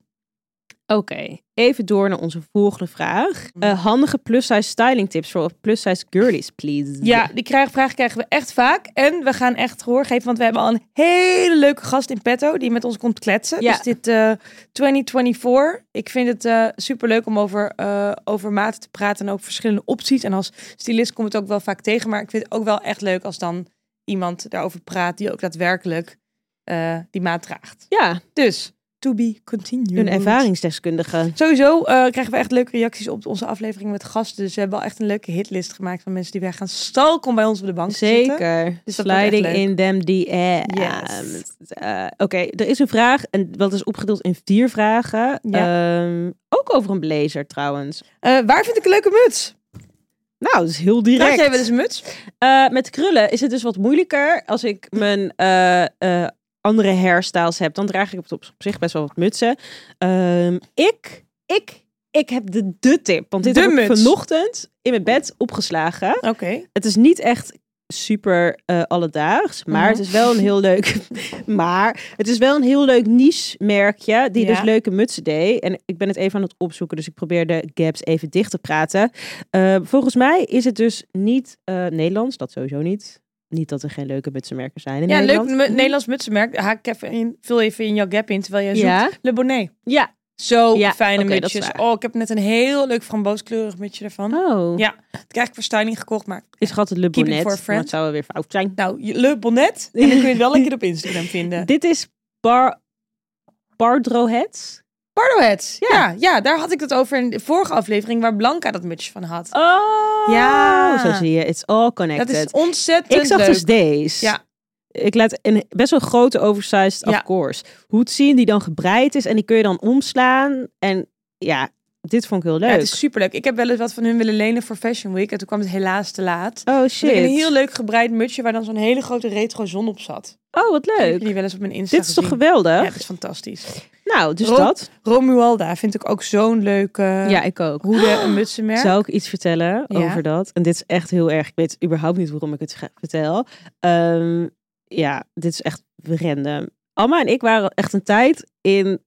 Speaker 2: Oké, even door naar onze volgende vraag. Eh, handige plus-size styling tips voor plus-size girlies, please.
Speaker 1: Ja, die krijg, vraag krijgen we echt vaak. En we gaan echt gehoor geven, want we hebben al een hele leuke gast in petto die met ons komt kletsen.
Speaker 2: Ja.
Speaker 1: Dus dit eh 2024, ik vind het eh superleuk om over, eh over maten te praten en ook verschillende opties. En als stylist kom ik het ook wel vaak tegen, maar ik vind het ook wel echt leuk als dan iemand daarover praat die ook daadwerkelijk eh, die maat draagt.
Speaker 2: Ja,
Speaker 1: Dus, to be continued.
Speaker 2: een ervaringsdeskundige.
Speaker 1: Sowieso eh, krijgen we echt leuke reacties op onze aflevering met gasten. Dus we hebben al echt een leuke hitlist gemaakt van mensen die wij gaan stalken om bij ons op de bank te zitten.
Speaker 2: Zeker.
Speaker 1: Dus dat wordt echt
Speaker 2: Sliding
Speaker 1: leuk.
Speaker 2: in them DM's.
Speaker 1: Yes.
Speaker 2: Eh, Oké, er is een vraag, en wat is opgedeeld in vier vragen. Ehm, ook over een blazer trouwens.
Speaker 1: Eh, waar vind ik een leuke muts?
Speaker 2: Nou, dat is heel
Speaker 1: Draag
Speaker 2: direct.
Speaker 1: jij wel eens dus een muts?
Speaker 2: dus, Eh, met krullen is het dus wat moeilijker. Als ik mijn eh, eh, andere hairstyles heb, dan draag ik op, op zich best wel wat mutsen. Ehm, ik, ik, ik heb de, de tip. Want dit
Speaker 1: De
Speaker 2: heb ik
Speaker 1: muts.
Speaker 2: vanochtend in mijn bed opgeslagen.
Speaker 1: Oké.
Speaker 2: Het is niet echt super eh, alledaags. Maar
Speaker 1: Mhm.
Speaker 2: het is wel een heel leuk. maar het is wel een heel leuk niche merkje. Die
Speaker 1: Ja.
Speaker 2: dus leuke mutsen deed. En ik ben het even aan het opzoeken. Dus ik probeer de gaps even dicht te praten. Eh, volgens mij is het dus niet eh, Nederlands. Dat sowieso niet. Niet dat er geen leuke mutsenmerken zijn in
Speaker 1: Ja, leuk
Speaker 2: Nederland.
Speaker 1: mu- Nederlands mutsenmerk. Haak even in, vul even in jouw gap in terwijl jij zoekt.
Speaker 2: Ja.
Speaker 1: Le Bonnet.
Speaker 2: Ja.
Speaker 1: Zo
Speaker 2: Ja,
Speaker 1: fijne
Speaker 2: oké, dat is
Speaker 1: mutsjes.
Speaker 2: waar.
Speaker 1: Oh, ik heb net een heel leuk frambooskleurig mutsje ervan.
Speaker 2: Oh.
Speaker 1: Ja, dat krijg ik voor styling gekocht, maar
Speaker 2: Is gehad het Le
Speaker 1: Keep it
Speaker 2: Bonnet.
Speaker 1: for a
Speaker 2: maar
Speaker 1: friend.
Speaker 2: het zou wel weer fout zijn.
Speaker 1: nou, je- Le Bonnet. En dan kun je het wel een keer op Instagram vinden.
Speaker 2: Dit is Bar... Bardroheads.
Speaker 1: Pardoheads. Ja. ja, daar had ik het over in de vorige aflevering waar Blanca dat mutsje van had.
Speaker 2: Oh.
Speaker 1: Ja.
Speaker 2: Zo zie je. It's all
Speaker 1: dat
Speaker 2: connected.
Speaker 1: is ontzettend
Speaker 2: Ik zag
Speaker 1: leuk.
Speaker 2: dus deze.
Speaker 1: Ja.
Speaker 2: Ik laat een best wel grote oversized,
Speaker 1: Ja.
Speaker 2: of course, hoed zien die dan gebreid is en die kun je dan omslaan. En ja, dit vond ik heel leuk.
Speaker 1: Ja, het is superleuk. Ik heb wel eens wat van hun willen lenen voor Fashion Week. En toen kwam het helaas te laat.
Speaker 2: Oh
Speaker 1: Toen
Speaker 2: shit.
Speaker 1: heb ik een heel leuk gebreid mutsje waar dan zo'n hele grote retro zon op zat.
Speaker 2: Oh, wat
Speaker 1: Ik heb
Speaker 2: leuk.
Speaker 1: die wel eens op mijn Insta
Speaker 2: Dit is toch
Speaker 1: gezien.
Speaker 2: geweldig?
Speaker 1: Ja, dat is fantastisch.
Speaker 2: Nou, dus
Speaker 1: Ro-
Speaker 2: dat.
Speaker 1: Romualda vind ik ook zo'n leuke
Speaker 2: ja, ik ook.
Speaker 1: hoede en mutsenmerk.
Speaker 2: Zou ik iets vertellen
Speaker 1: Ja.
Speaker 2: over dat? En dit is echt heel erg. Ik weet überhaupt niet waarom ik het ga- vertel. Ehm, ja, dit is echt random. Alma en ik waren echt een tijd in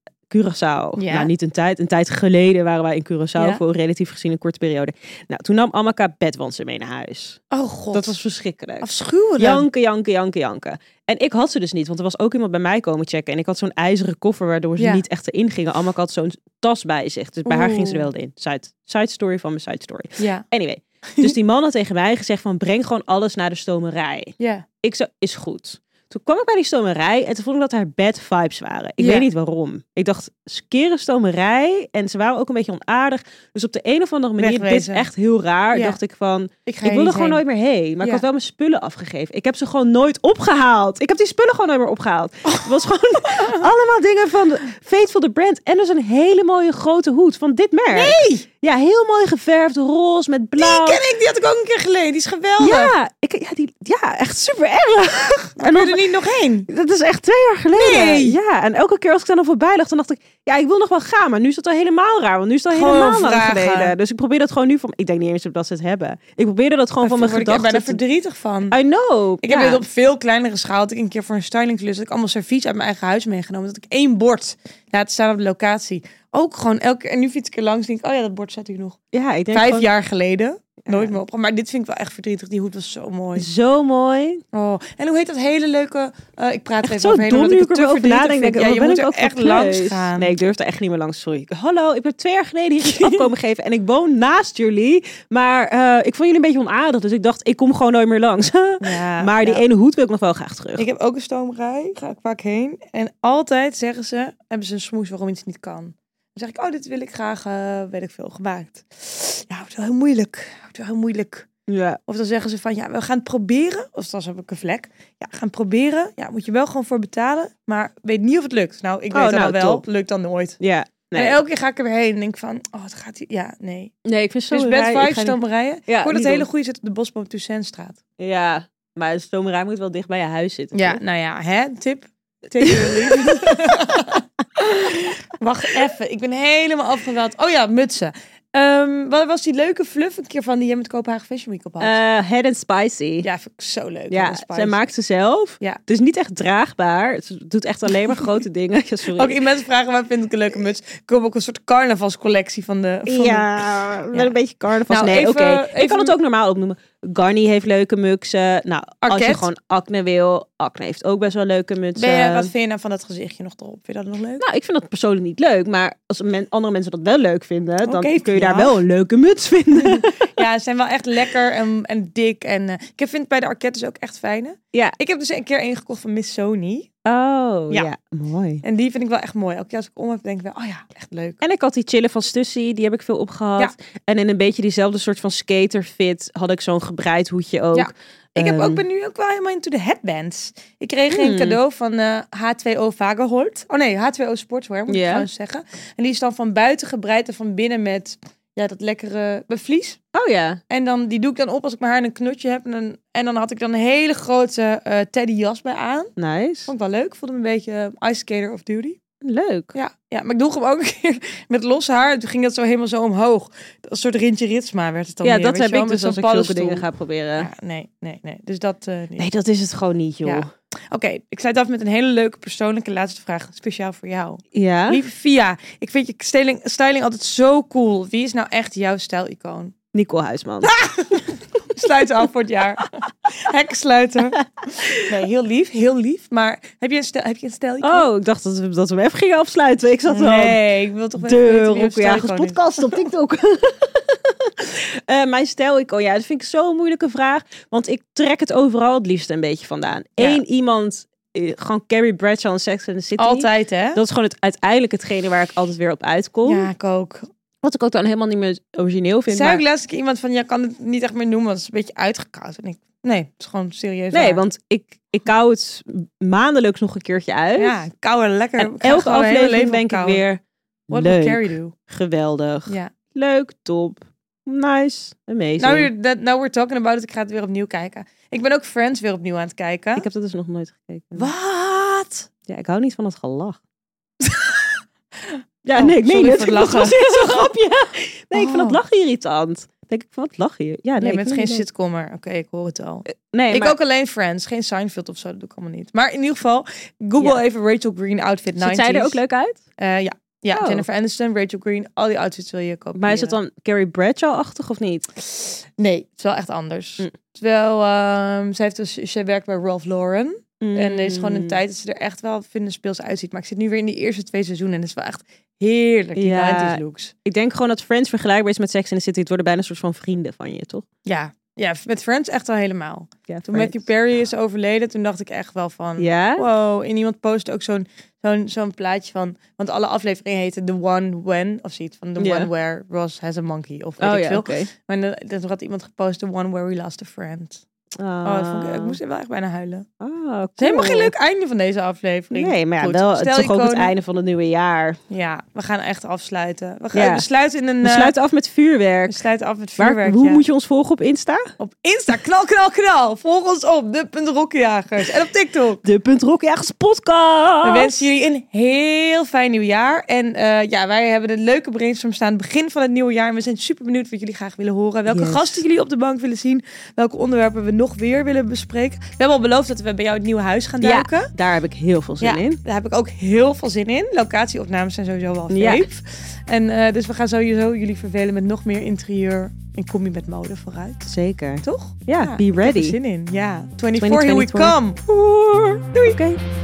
Speaker 1: Ja.
Speaker 2: Curaçao. Nou, niet een tijd. Een tijd geleden waren wij in Curaçao
Speaker 1: Ja.
Speaker 2: voor relatief gezien een korte periode. Nou, toen nam Amaka bedwansen mee naar huis.
Speaker 1: Oh god,
Speaker 2: Dat was verschrikkelijk.
Speaker 1: afschuwelijk.
Speaker 2: Janken, janken, janken, janken. En ik had ze dus niet, want er was ook iemand bij mij komen checken. En ik had zo'n ijzeren koffer waardoor ze
Speaker 1: Ja.
Speaker 2: niet echt erin gingen. Allemaal had zo'n tas bij zich. Dus bij haar ging ze er
Speaker 1: Oeh.
Speaker 2: wel in. Side, side story van mijn side story.
Speaker 1: Ja,
Speaker 2: Anyway, dus die man had tegen mij gezegd van breng gewoon alles naar de stomerij.
Speaker 1: ja.
Speaker 2: Ik zei, is goed. Toen kwam ik bij die stomerij en toen vond ik dat haar bad vibes waren. Ik
Speaker 1: Ja.
Speaker 2: weet niet waarom. Ik dacht, skere stomerij en ze waren ook een beetje onaardig. Dus op de een of andere manier, dit is
Speaker 1: Wegwezen.
Speaker 2: echt heel raar,
Speaker 1: Ja.
Speaker 2: dacht ik van...
Speaker 1: Ik, ga
Speaker 2: Ik
Speaker 1: hier
Speaker 2: wilde
Speaker 1: niet
Speaker 2: gewoon
Speaker 1: heen.
Speaker 2: nooit meer heen. Maar ik
Speaker 1: Ja.
Speaker 2: had wel mijn spullen afgegeven. Ik heb ze gewoon nooit opgehaald. Ik heb die spullen gewoon nooit meer opgehaald.
Speaker 1: Oh.
Speaker 2: Het was gewoon allemaal dingen van Faithful the Brand. En dus een hele mooie grote hoed van dit merk.
Speaker 1: Nee!
Speaker 2: Ja, heel mooi geverfd, roze met blauw.
Speaker 1: Die ken ik, die had ik ook een keer geleden. Die is geweldig.
Speaker 2: Nou. ja, ik, ja, die, ja, echt super erg. En
Speaker 1: En
Speaker 2: dan-
Speaker 1: er niet nog heen.
Speaker 2: dat is echt twee jaar geleden.
Speaker 1: Nee.
Speaker 2: Ja, en elke keer als ik daar dan voorbij lag, dan dacht ik, ja, ik wil nog wel gaan. Maar nu is dat al helemaal raar, want nu is dat
Speaker 1: Gewoon
Speaker 2: helemaal lang
Speaker 1: vragen.
Speaker 2: geleden. Dus ik probeer dat gewoon nu van, ik denk niet eens dat ze het hebben. Ik probeerde dat gewoon van mijn
Speaker 1: Daar word Ik ben
Speaker 2: gedachten.
Speaker 1: er
Speaker 2: te-
Speaker 1: verdrietig van.
Speaker 2: I know.
Speaker 1: Ik
Speaker 2: ja.
Speaker 1: heb dit op veel kleinere schaal. Had ik een keer voor een stylingklus. Had ik allemaal servies uit mijn eigen huis meegenomen. Dat ik één bord laat staan op de locatie. Ook gewoon elke keer. En nu fiets ik er langs. Denk ik, oh ja, dat bord zet ik nog.
Speaker 2: Ja, ik denk
Speaker 1: Vijf
Speaker 2: gewoon,
Speaker 1: jaar geleden. Nooit meer op. Maar dit vind ik wel echt verdrietig. Die hoed was zo mooi.
Speaker 2: Zo mooi.
Speaker 1: Oh. En hoe heet dat hele leuke... eh, ik praat er
Speaker 2: Echt
Speaker 1: even
Speaker 2: zo
Speaker 1: overheen.
Speaker 2: dom
Speaker 1: omdat
Speaker 2: nu
Speaker 1: ik
Speaker 2: ik
Speaker 1: het te
Speaker 2: erover
Speaker 1: verdrietig
Speaker 2: nadenk.
Speaker 1: vind.
Speaker 2: Denk, ik,
Speaker 1: Ja,
Speaker 2: wat
Speaker 1: je
Speaker 2: ben
Speaker 1: moet
Speaker 2: ik
Speaker 1: er
Speaker 2: ook
Speaker 1: echt
Speaker 2: verkleed?
Speaker 1: langs gaan.
Speaker 2: Nee, ik durfde echt niet meer langs. Sorry. Hallo, ik ben twee jaar geleden hier iets af komen geven. En ik woon naast jullie. Maar eh, ik vond jullie een beetje onaardig. Dus ik dacht, ik kom gewoon nooit meer langs.
Speaker 1: Ja,
Speaker 2: maar die
Speaker 1: ja.
Speaker 2: ene hoed wil ik nog wel graag terug.
Speaker 1: Ik heb ook een stoomrij, ga ik vaak heen. En altijd zeggen ze, hebben ze een smoes waarom iets niet kan. Dan zeg ik, oh, dit wil ik graag, eh, weet ik veel, gemaakt. Ja, het is wel heel moeilijk. Het is wel heel moeilijk.
Speaker 2: ja.
Speaker 1: Of dan zeggen ze van, ja, we gaan het proberen. Of dan heb ik een vlek. Ja, we gaan het proberen. Ja, moet je wel gewoon voor betalen. Maar weet niet of het lukt. Nou, ik
Speaker 2: Oh,
Speaker 1: weet dan
Speaker 2: nou,
Speaker 1: al wel.
Speaker 2: top.
Speaker 1: Lukt dan nooit.
Speaker 2: ja.
Speaker 1: En
Speaker 2: Nee.
Speaker 1: elke keer ga ik er weer heen en denk van, oh, het gaat hier. Ja, nee.
Speaker 2: nee, ik vind
Speaker 1: Dus
Speaker 2: zo'n
Speaker 1: bed
Speaker 2: rij- ik
Speaker 1: vibes,
Speaker 2: ga niet-
Speaker 1: stoomrijen.
Speaker 2: Ja,
Speaker 1: Ik hoor dat
Speaker 2: niet
Speaker 1: hele
Speaker 2: doen.
Speaker 1: goede zit op de Bosboom Toussaintstraat.
Speaker 2: Ja, maar de stomerij moet wel dicht bij je huis zitten.
Speaker 1: Ja,
Speaker 2: toch?
Speaker 1: nou ja, hè? Tip. Take it or leave it. Wacht even, ik ben helemaal afgeweld. Oh ja, mutsen. Ehm, wat was die leuke fluff een keer van die je met Kopenhagen Fashion Week op had?
Speaker 2: Eh, head and Spicy.
Speaker 1: ja, vind ik zo leuk.
Speaker 2: Ja,
Speaker 1: Hannah Spice.
Speaker 2: zij maakt ze zelf.
Speaker 1: Ja.
Speaker 2: Het is niet echt draagbaar. Het doet echt alleen maar grote dingen. Ja, sorry.
Speaker 1: Ook mensen vragen, waar vind ik een leuke muts? Ik heb ook een soort carnavalscollectie van de... Van
Speaker 2: Ja, met een beetje carnaval.
Speaker 1: Nou,
Speaker 2: nee,
Speaker 1: even-
Speaker 2: oké. Ik
Speaker 1: even-
Speaker 2: kan het ook normaal opnoemen. Garni heeft leuke muksen. Nou, als je
Speaker 1: Arquette.
Speaker 2: gewoon acne wil. Acne heeft ook best wel leuke
Speaker 1: de-
Speaker 2: mutsen.
Speaker 1: Ben je, wat vind je nou van dat gezichtje nog erop? Vind je dat nog leuk?
Speaker 2: Nou, ik vind dat persoonlijk niet leuk. Maar als men, andere mensen dat wel leuk vinden,
Speaker 1: Oké,
Speaker 2: dan kun je
Speaker 1: ja.
Speaker 2: daar wel een leuke muts vinden.
Speaker 1: Ja, ze zijn wel echt lekker en, en dik. En eh, ik vind bij de Arquette dus ook echt fijne.
Speaker 2: Ja.
Speaker 1: Ik heb dus een keer één gekocht van Miss Sony.
Speaker 2: Oh, ja.
Speaker 1: Ja.
Speaker 2: Mooi.
Speaker 1: En die vind ik wel echt mooi. Elke keer als ik om heb, denk ik wel, oh ja, echt leuk.
Speaker 2: En ik had die chillen van Stussy, die heb ik veel opgehad. En in een beetje diezelfde soort van skaterfit had ik zo'n gebreid hoedje ook.
Speaker 1: Ja. Ik heb
Speaker 2: Ehm,
Speaker 1: ook, ben nu ook wel helemaal into de headbands. Ik kreeg
Speaker 2: Hmm.
Speaker 1: een cadeau van eh, H2O Vagehold. Oh nee, H2O Sportswear moet
Speaker 2: Ja.
Speaker 1: ik trouwens zeggen. En die is dan van buiten gebreid en van binnen met ja, dat lekkere bevlies.
Speaker 2: Oh ja.
Speaker 1: En dan, die doe ik dan op als ik mijn haar in een knotje heb. En dan, en dan had ik dan een hele grote eh teddyjas bij aan.
Speaker 2: Nice.
Speaker 1: Oh. Vond ik wel leuk. Voelde me een beetje eh, ice skater of duty.
Speaker 2: Leuk.
Speaker 1: Ja, ja, maar ik droeg hem ook een keer met los haar. Toen ging dat zo helemaal zo omhoog. Een soort Rintje Ritsma werd het dan
Speaker 2: ja,
Speaker 1: weer,
Speaker 2: dat
Speaker 1: weet
Speaker 2: heb
Speaker 1: je wel,
Speaker 2: ik
Speaker 1: met
Speaker 2: dus als ik
Speaker 1: zo'n
Speaker 2: zulke
Speaker 1: paddenstoel.
Speaker 2: dingen ga proberen.
Speaker 1: Ja, nee, nee, nee. Dus dat eh, niet.
Speaker 2: Nee, dat is het gewoon niet, joh.
Speaker 1: Ja. Oké, ik sluit af met een hele leuke persoonlijke laatste vraag. Speciaal voor jou.
Speaker 2: Ja?
Speaker 1: Lieve Via, ik vind je styling, styling altijd zo cool. Wie is nou echt jouw stijlicoon?
Speaker 2: Nicole Huisman.
Speaker 1: Sluiten af voor het jaar. Hekken sluiten. Nee, heel lief, heel lief. Maar heb je een, stijl, heb je een stijlicoon?
Speaker 2: Oh, ik dacht dat we, dat we hem even gingen afsluiten. Ik zat al.
Speaker 1: nee, ik wil toch wel
Speaker 2: De
Speaker 1: weten wie jouw
Speaker 2: Rokkenjagers
Speaker 1: stijlicoon is.
Speaker 2: podcast op TikTok. Eh, mijn stijl, ik, oh ja, dat vind ik zo'n moeilijke vraag. Want ik trek het overal het liefst een beetje vandaan.
Speaker 1: Ja.
Speaker 2: Eén iemand, eh, gewoon Carrie Bradshaw en Sex and the City.
Speaker 1: Altijd, hè?
Speaker 2: Dat is gewoon het, uiteindelijk hetgene waar ik altijd weer op uitkom.
Speaker 1: Ja, ik ook.
Speaker 2: Wat ik ook dan helemaal niet meer origineel vind.
Speaker 1: Zei
Speaker 2: maar-
Speaker 1: ook laatst een keer iemand van, ja, kan het niet echt meer noemen, want het is een beetje uitgekoud. En ik, nee, het is gewoon serieus
Speaker 2: Nee,
Speaker 1: waar.
Speaker 2: want ik, ik kou het maandelijks nog een keertje uit.
Speaker 1: Ja, kouwen lekker.
Speaker 2: en
Speaker 1: Ik ga
Speaker 2: elke
Speaker 1: gewoon mijn hele
Speaker 2: aflevering
Speaker 1: leven
Speaker 2: denk ik
Speaker 1: opkouwen.
Speaker 2: weer
Speaker 1: What
Speaker 2: leuk,
Speaker 1: would Carrie do?
Speaker 2: geweldig,
Speaker 1: Ja.
Speaker 2: leuk, top, nice, amazing.
Speaker 1: Now we're, Nou, that- now we're talking about it. Ik ga het weer opnieuw kijken. Ik ben ook Friends weer opnieuw aan het kijken.
Speaker 2: Ik heb Ah, dat dus nog nooit gekeken.
Speaker 1: Wat?
Speaker 2: Ja, ik hou niet van het gelach. ja,
Speaker 1: Oh,
Speaker 2: nee, ik meen
Speaker 1: sorry
Speaker 2: het.
Speaker 1: voor
Speaker 2: Ik
Speaker 1: het
Speaker 2: dacht,
Speaker 1: lachen.
Speaker 2: was dit zo'n grapje? Nee, ik vind
Speaker 1: Oh.
Speaker 2: het lachen irritant. Denk ik van wat lach je? Ja, nee,
Speaker 1: Nee,
Speaker 2: ik
Speaker 1: je bent
Speaker 2: vind
Speaker 1: geen
Speaker 2: het leuk.
Speaker 1: sitcommer. Oké, ik hoor het al.
Speaker 2: Nee,
Speaker 1: ik
Speaker 2: maar
Speaker 1: ook alleen Friends. Geen Seinfeld of zo. Dat doe ik allemaal niet. Maar in ieder geval, Google
Speaker 2: Ja.
Speaker 1: even Rachel Green outfit 90s.
Speaker 2: ziet zij er ook leuk uit?
Speaker 1: Eh, ja. Ja,
Speaker 2: Oh.
Speaker 1: Jennifer Aniston, Rachel Green. Al die outfits wil je kopen.
Speaker 2: Maar is het dan Carrie Bradshaw-achtig of niet?
Speaker 1: Nee, het is wel echt anders.
Speaker 2: Mm.
Speaker 1: Terwijl, ehm, zij, heeft dus, zij werkt bij Ralph Lauren. En er is gewoon een
Speaker 2: Mm.
Speaker 1: tijd dat ze er echt wel vinden speels uitziet. Maar ik zit nu weer in die eerste twee seizoenen. En het is wel echt heerlijk, die
Speaker 2: Ja.
Speaker 1: ja. 90s looks.
Speaker 2: Ik denk gewoon dat Friends vergelijkbaar is met Sex and the City. Het worden bijna een soort van vrienden van je, toch?
Speaker 1: Ja. ja, met Friends echt wel helemaal.
Speaker 2: Ja,
Speaker 1: Toen Matthew Perry is overleden, toen dacht ik echt wel van...
Speaker 2: Ja?
Speaker 1: Wow, en iemand postte ook zo'n zo'n zo'n plaatje van... Want alle afleveringen heten The One When, of zoiets. Van The
Speaker 2: Ja.
Speaker 1: One Where Ross Has a Monkey, of weet
Speaker 2: Oh
Speaker 1: ik
Speaker 2: ja,
Speaker 1: veel.
Speaker 2: oké.
Speaker 1: Maar dan, dan had iemand gepost The One Where We Lost a Friend. Oh, dat vond ik, ik moest er wel echt bijna huilen. Het
Speaker 2: Ah,
Speaker 1: is helemaal geen
Speaker 2: cool.
Speaker 1: leuk einde van deze aflevering.
Speaker 2: Nee, maar ja,
Speaker 1: Goed,
Speaker 2: wel
Speaker 1: stel
Speaker 2: toch ook het
Speaker 1: iconen.
Speaker 2: einde van het nieuwe jaar.
Speaker 1: Ja, we gaan echt afsluiten. We, gaan,
Speaker 2: Ja.
Speaker 1: we sluiten in een...
Speaker 2: We
Speaker 1: eh,
Speaker 2: sluiten af met vuurwerk.
Speaker 1: we sluiten af met
Speaker 2: Waar-
Speaker 1: vuurwerk.
Speaker 2: hoe
Speaker 1: ja.
Speaker 2: moet je ons volgen op Insta?
Speaker 1: Op Insta, knal, knal, knal. Volg ons op, de.rokkenjagers. En op TikTok.
Speaker 2: De Punt Rockjagers podcast.
Speaker 1: We wensen jullie een heel fijn nieuwjaar. En eh, ja, wij hebben een leuke brainstorm staan. Begin van het nieuwe jaar. En we zijn super benieuwd wat jullie graag willen horen. Welke
Speaker 2: Yes.
Speaker 1: gasten jullie op de bank willen zien. Welke onderwerpen we nog weer willen bespreken. We hebben al beloofd dat we bij jou het nieuwe huis gaan
Speaker 2: Ja,
Speaker 1: duiken.
Speaker 2: daar heb ik heel veel zin in.
Speaker 1: daar heb ik ook heel veel zin in. Locatieopnames zijn sowieso wel
Speaker 2: Ja.
Speaker 1: veef. En eh, dus we gaan sowieso jullie vervelen met nog meer interieur. En kom je met mode vooruit.
Speaker 2: Zeker.
Speaker 1: Toch?
Speaker 2: Ja, be
Speaker 1: Ik heb er
Speaker 2: ready.
Speaker 1: zin in. Ja. 24,
Speaker 2: 20,
Speaker 1: here we
Speaker 2: 24.
Speaker 1: come. Doei.
Speaker 2: Oké,